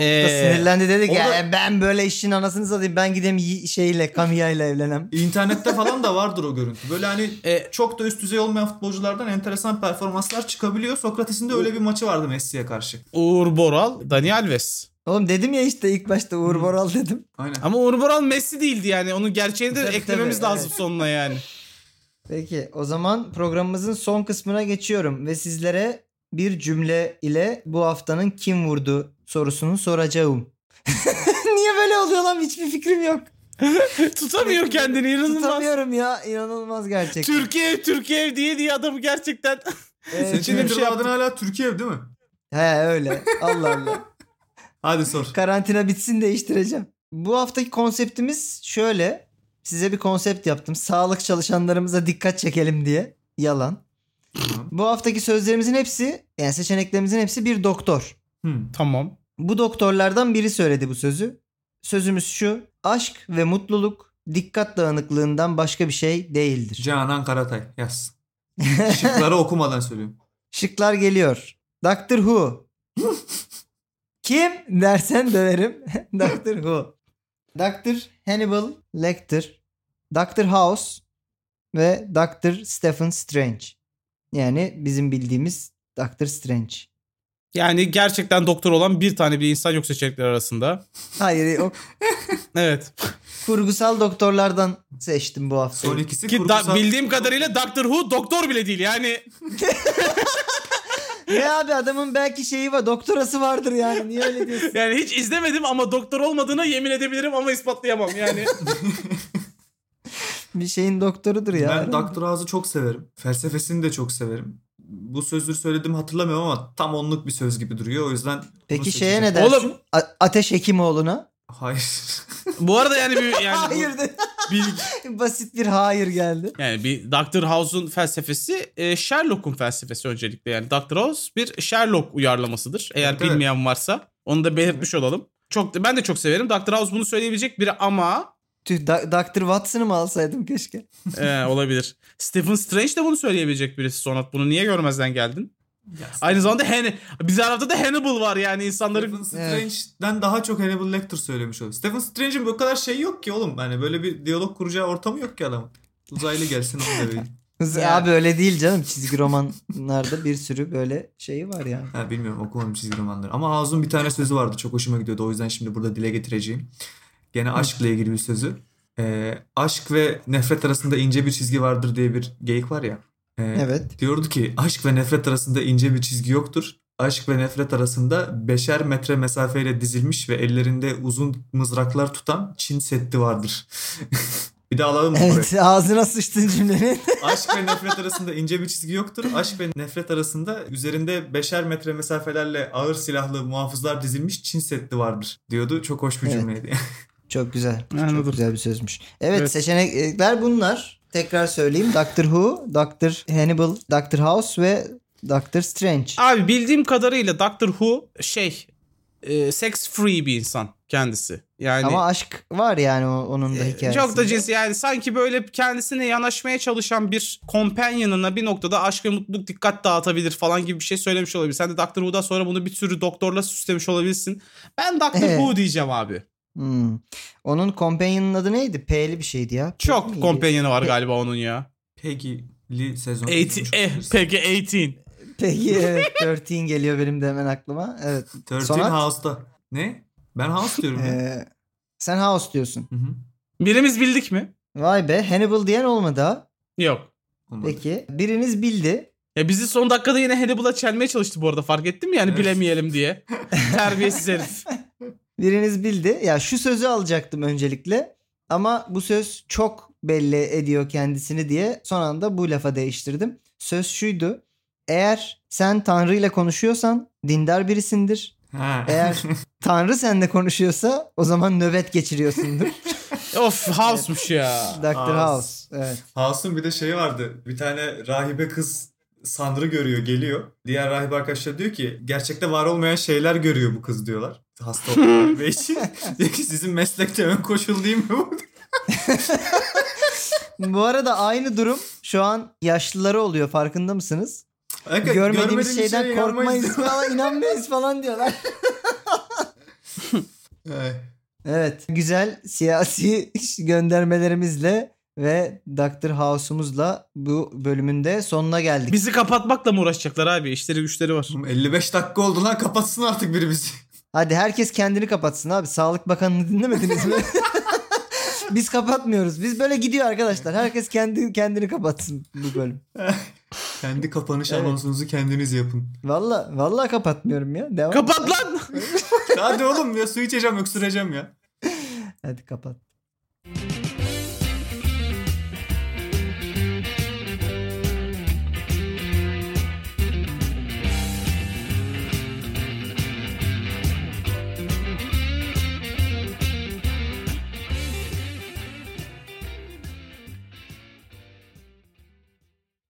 Speaker 3: Ee,
Speaker 2: sinirlendi dedi ki
Speaker 4: orada-
Speaker 2: "Ya ben böyle işin anasını satayım ben gideyim y- şeyle Kamiya'yla evlenem.
Speaker 4: İnternette falan da vardır o görüntü. Böyle hani
Speaker 3: E-
Speaker 4: çok da üst düzey olmayan futbolculardan enteresan performanslar çıkabiliyor. Sokrates'in de öyle bir maçı vardı Messi'ye karşı.
Speaker 3: Uğur Boral, Dani Alves.
Speaker 2: Oğlum dedim ya işte ilk başta Uğur Boral dedim.
Speaker 4: Aynen.
Speaker 3: Ama Uğur Boral Messi değildi yani. Onun gerçeğini de
Speaker 2: Tabii,
Speaker 3: eklememiz
Speaker 2: tabii,
Speaker 3: lazım
Speaker 2: evet.
Speaker 3: sonuna yani.
Speaker 2: Peki o zaman programımızın son kısmına geçiyorum ve sizlere bir cümle ile bu haftanın kim vurdu sorusunu soracağım. Niye böyle oluyor lan hiçbir fikrim yok.
Speaker 3: Tutamıyor kendini inanılmaz.
Speaker 2: Tutamıyorum ya inanılmaz gerçekten.
Speaker 3: Türkiye Türkiye diye diye adamı gerçekten
Speaker 2: Evet.
Speaker 4: Seçenin
Speaker 3: bir şey yaptın.
Speaker 4: adına hala Türkiye değil mi?
Speaker 2: He öyle Allah Allah.
Speaker 4: Hadi sor.
Speaker 2: Karantina bitsin değiştireceğim. Bu haftaki konseptimiz şöyle. Size bir konsept yaptım. Sağlık çalışanlarımıza dikkat çekelim diye. Yalan. Bu haftaki sözlerimizin hepsi yani seçeneklerimizin hepsi bir doktor.
Speaker 4: Hmm.
Speaker 3: Tamam.
Speaker 2: Bu doktorlardan biri söyledi bu sözü. Sözümüz şu. Aşk ve mutluluk dikkat dağınıklığından başka bir şey değildir.
Speaker 4: Canan Karatay yaz. Şıkları okumadan söylüyorum.
Speaker 2: Şıklar geliyor. Doctor Who. Kim dersen döverim. Doctor Who. Doctor Hannibal Lecter. Doctor House ve Doctor Stephen Strange. Yani bizim bildiğimiz Doctor Strange.
Speaker 3: Yani gerçekten doktor olan bir tane bile insan yok seçenekler arasında.
Speaker 2: Hayır o
Speaker 3: Evet.
Speaker 2: kurgusal doktorlardan seçtim bu hafta.
Speaker 4: Son ikisi
Speaker 3: Ki da-
Speaker 4: kurgusal.
Speaker 3: bildiğim kadarıyla Doctor Who doktor bile değil yani.
Speaker 2: Ne abi adamın belki şeyi var doktorası vardır yani niye öyle diyorsun?
Speaker 3: Yani hiç izlemedim ama doktor olmadığına yemin edebilirim ama ispatlayamam yani.
Speaker 2: Bir şeyin doktorudur ya.
Speaker 4: Ben Dr. House'u çok severim. Felsefesini de çok severim. Bu sözleri söylediğimi hatırlamıyorum ama tam onluk bir söz gibi duruyor. O yüzden bunu
Speaker 2: Peki
Speaker 4: seçeceğim.
Speaker 2: şeye ne dersin?
Speaker 3: Oğlum-
Speaker 2: A- Ateş Hekimoğlu'na.
Speaker 4: Hayır.
Speaker 3: bu arada yani bir yani bu-
Speaker 2: hayır de-
Speaker 3: bir-
Speaker 2: basit bir hayır geldi.
Speaker 3: yani bir Doctor House'un felsefesi e, Sherlock'un felsefesi öncelikle. Yani Doctor House bir Sherlock uyarlamasıdır. Eğer
Speaker 4: Evet, evet.
Speaker 3: bilmeyen varsa onu da belirtmiş olalım. Çok ben de çok severim. Doctor House bunu söyleyebilecek biri ama
Speaker 2: Tüh, Da- Dr. Watson'ı mı alsaydım keşke?
Speaker 3: Ee, olabilir. Stephen Strange de bunu söyleyebilecek birisi Sonat. Bunu niye görmezden geldin? Aynı zamanda Hannibal. Bizi arada da Hannibal var yani insanların
Speaker 4: Stephen Strange'den daha çok Hannibal Lecter söylemiş o. Stephen Strange'in bu kadar şey yok ki oğlum. Yani böyle bir diyalog kuracağı ortamı yok ki adamın. Uzaylı gelsin onu da vereyim.
Speaker 2: Kız-
Speaker 3: Ya.
Speaker 2: Abi öyle değil canım. Çizgi romanlarda bir sürü böyle şeyi var yani.
Speaker 4: Ha, bilmiyorum okumadım çizgi romanları. Ama Hazun bir tane sözü vardı. Çok hoşuma gidiyordu. O yüzden şimdi burada dile getireceğim. Gene aşkla ilgili bir sözü. Ee, aşk ve nefret arasında ince bir çizgi vardır diye bir geyik var ya. Ee,
Speaker 2: Evet.
Speaker 4: Diyordu ki aşk ve nefret arasında ince bir çizgi yoktur. Aşk ve nefret arasında beşer metre mesafeyle dizilmiş ve ellerinde uzun mızraklar tutan Çin Seddi vardır. bir de alalım mı burayı?
Speaker 2: Evet ağzına sıçtın cümlenin.
Speaker 4: Aşk ve nefret arasında ince bir çizgi yoktur. Aşk ve nefret arasında üzerinde beşer metre mesafelerle ağır silahlı muhafızlar dizilmiş Çin Seddi vardır diyordu. Çok hoş bir
Speaker 2: Evet.
Speaker 4: cümleydi.
Speaker 2: Çok güzel.
Speaker 3: Anladım.
Speaker 2: Çok güzel bir sözmüş. Evet,
Speaker 3: Evet.
Speaker 2: seçenekler bunlar. Tekrar söyleyeyim. Doctor Who, Doctor Hannibal, Doctor House ve Doctor Strange.
Speaker 3: Abi bildiğim kadarıyla Doctor Who şey e, sex free bir insan kendisi. Yani
Speaker 2: Ama aşk var yani o- onun da hikayesi.
Speaker 3: Hani Ee, çok da cins yani sanki böyle kendisine yanaşmaya çalışan bir companion'ına bir noktada aşk ve mutluluk dikkat dağıtabilir falan gibi bir şey söylemiş olabilir. Sen de Doctor Who'dan sonra bunu bir sürü doktorla süslemiş olabilirsin. Ben Doctor
Speaker 2: Evet.
Speaker 3: Who diyeceğim abi.
Speaker 2: Hmm. Onun companion'ın adı neydi? P'li bir şeydi ya. P
Speaker 3: Çok
Speaker 2: miydi?
Speaker 3: companion'ı var galiba onun ya.
Speaker 4: Peki Lee sezon.
Speaker 3: 18, eh,
Speaker 4: Pe-
Speaker 3: peki 18.
Speaker 2: Peki evet, 13 geliyor benim de hemen aklıma. Evet.
Speaker 4: 13
Speaker 2: Sonat?
Speaker 4: House'da. Ne? Ben House diyorum ya.
Speaker 2: Ee, sen House diyorsun.
Speaker 4: Hı hı.
Speaker 3: Birimiz bildik mi?
Speaker 2: Vay be Hannibal diyen olmadı ha.
Speaker 3: Yok.
Speaker 4: Olmadı.
Speaker 2: Peki biriniz bildi.
Speaker 3: Ya bizi son dakikada yine Hannibal'a çelmeye çalıştı bu arada fark ettin mi? Yani
Speaker 4: Evet.
Speaker 3: bilemeyelim diye. Terbiyesiz herif.
Speaker 2: Biriniz bildi. Ya şu sözü alacaktım öncelikle. Ama bu söz çok belli ediyor kendisini diye son anda bu lafa değiştirdim. Söz şuydu. Eğer sen Tanrı ile konuşuyorsan dindar birisindir.
Speaker 4: Ha.
Speaker 2: Eğer Tanrı seninle konuşuyorsa o zaman nöbet geçiriyorsundur.
Speaker 3: Of house'muş ya.
Speaker 2: Dr.
Speaker 4: House.
Speaker 2: House. Evet.
Speaker 4: House'un bir de şeyi vardı. Bir tane rahibe kız Sandr'ı görüyor geliyor. Diğer rahip arkadaşlar diyor ki gerçekte var olmayan şeyler görüyor bu kız diyorlar. Hasta olanlar ve için. diyor ki sizin meslekte ön koşul değil mi bu?
Speaker 2: Bu arada aynı durum şu an yaşlılara oluyor farkında mısınız?
Speaker 4: Hakikaten
Speaker 2: Görmediğimiz şeyden
Speaker 4: şeye inanmayız
Speaker 2: korkmayız
Speaker 4: diyor.
Speaker 2: falan inanmayız falan diyorlar.
Speaker 4: Ay.
Speaker 2: Evet. Güzel siyasi göndermelerimizle ve Dr. House'umuzla bu bölümünde sonuna geldik.
Speaker 3: Bizi kapatmakla mı uğraşacaklar abi? İşleri güçleri var.
Speaker 4: Oğlum 55 dakika oldu lan kapatsın artık biri bizi.
Speaker 2: Hadi herkes kendini kapatsın abi. Sağlık Bakanı'nı dinlemediniz mi? Biz kapatmıyoruz. Biz böyle gidiyor arkadaşlar. Herkes kendi kendini kapatsın bu bölüm.
Speaker 4: Kendi kapanış
Speaker 2: Evet.
Speaker 4: anonsunuzu kendiniz yapın.
Speaker 2: Valla vallahi kapatmıyorum ya. Devam.
Speaker 3: Kapat lan!
Speaker 4: Hadi oğlum ya su içeceğim öksüreceğim ya.
Speaker 2: Hadi kapat.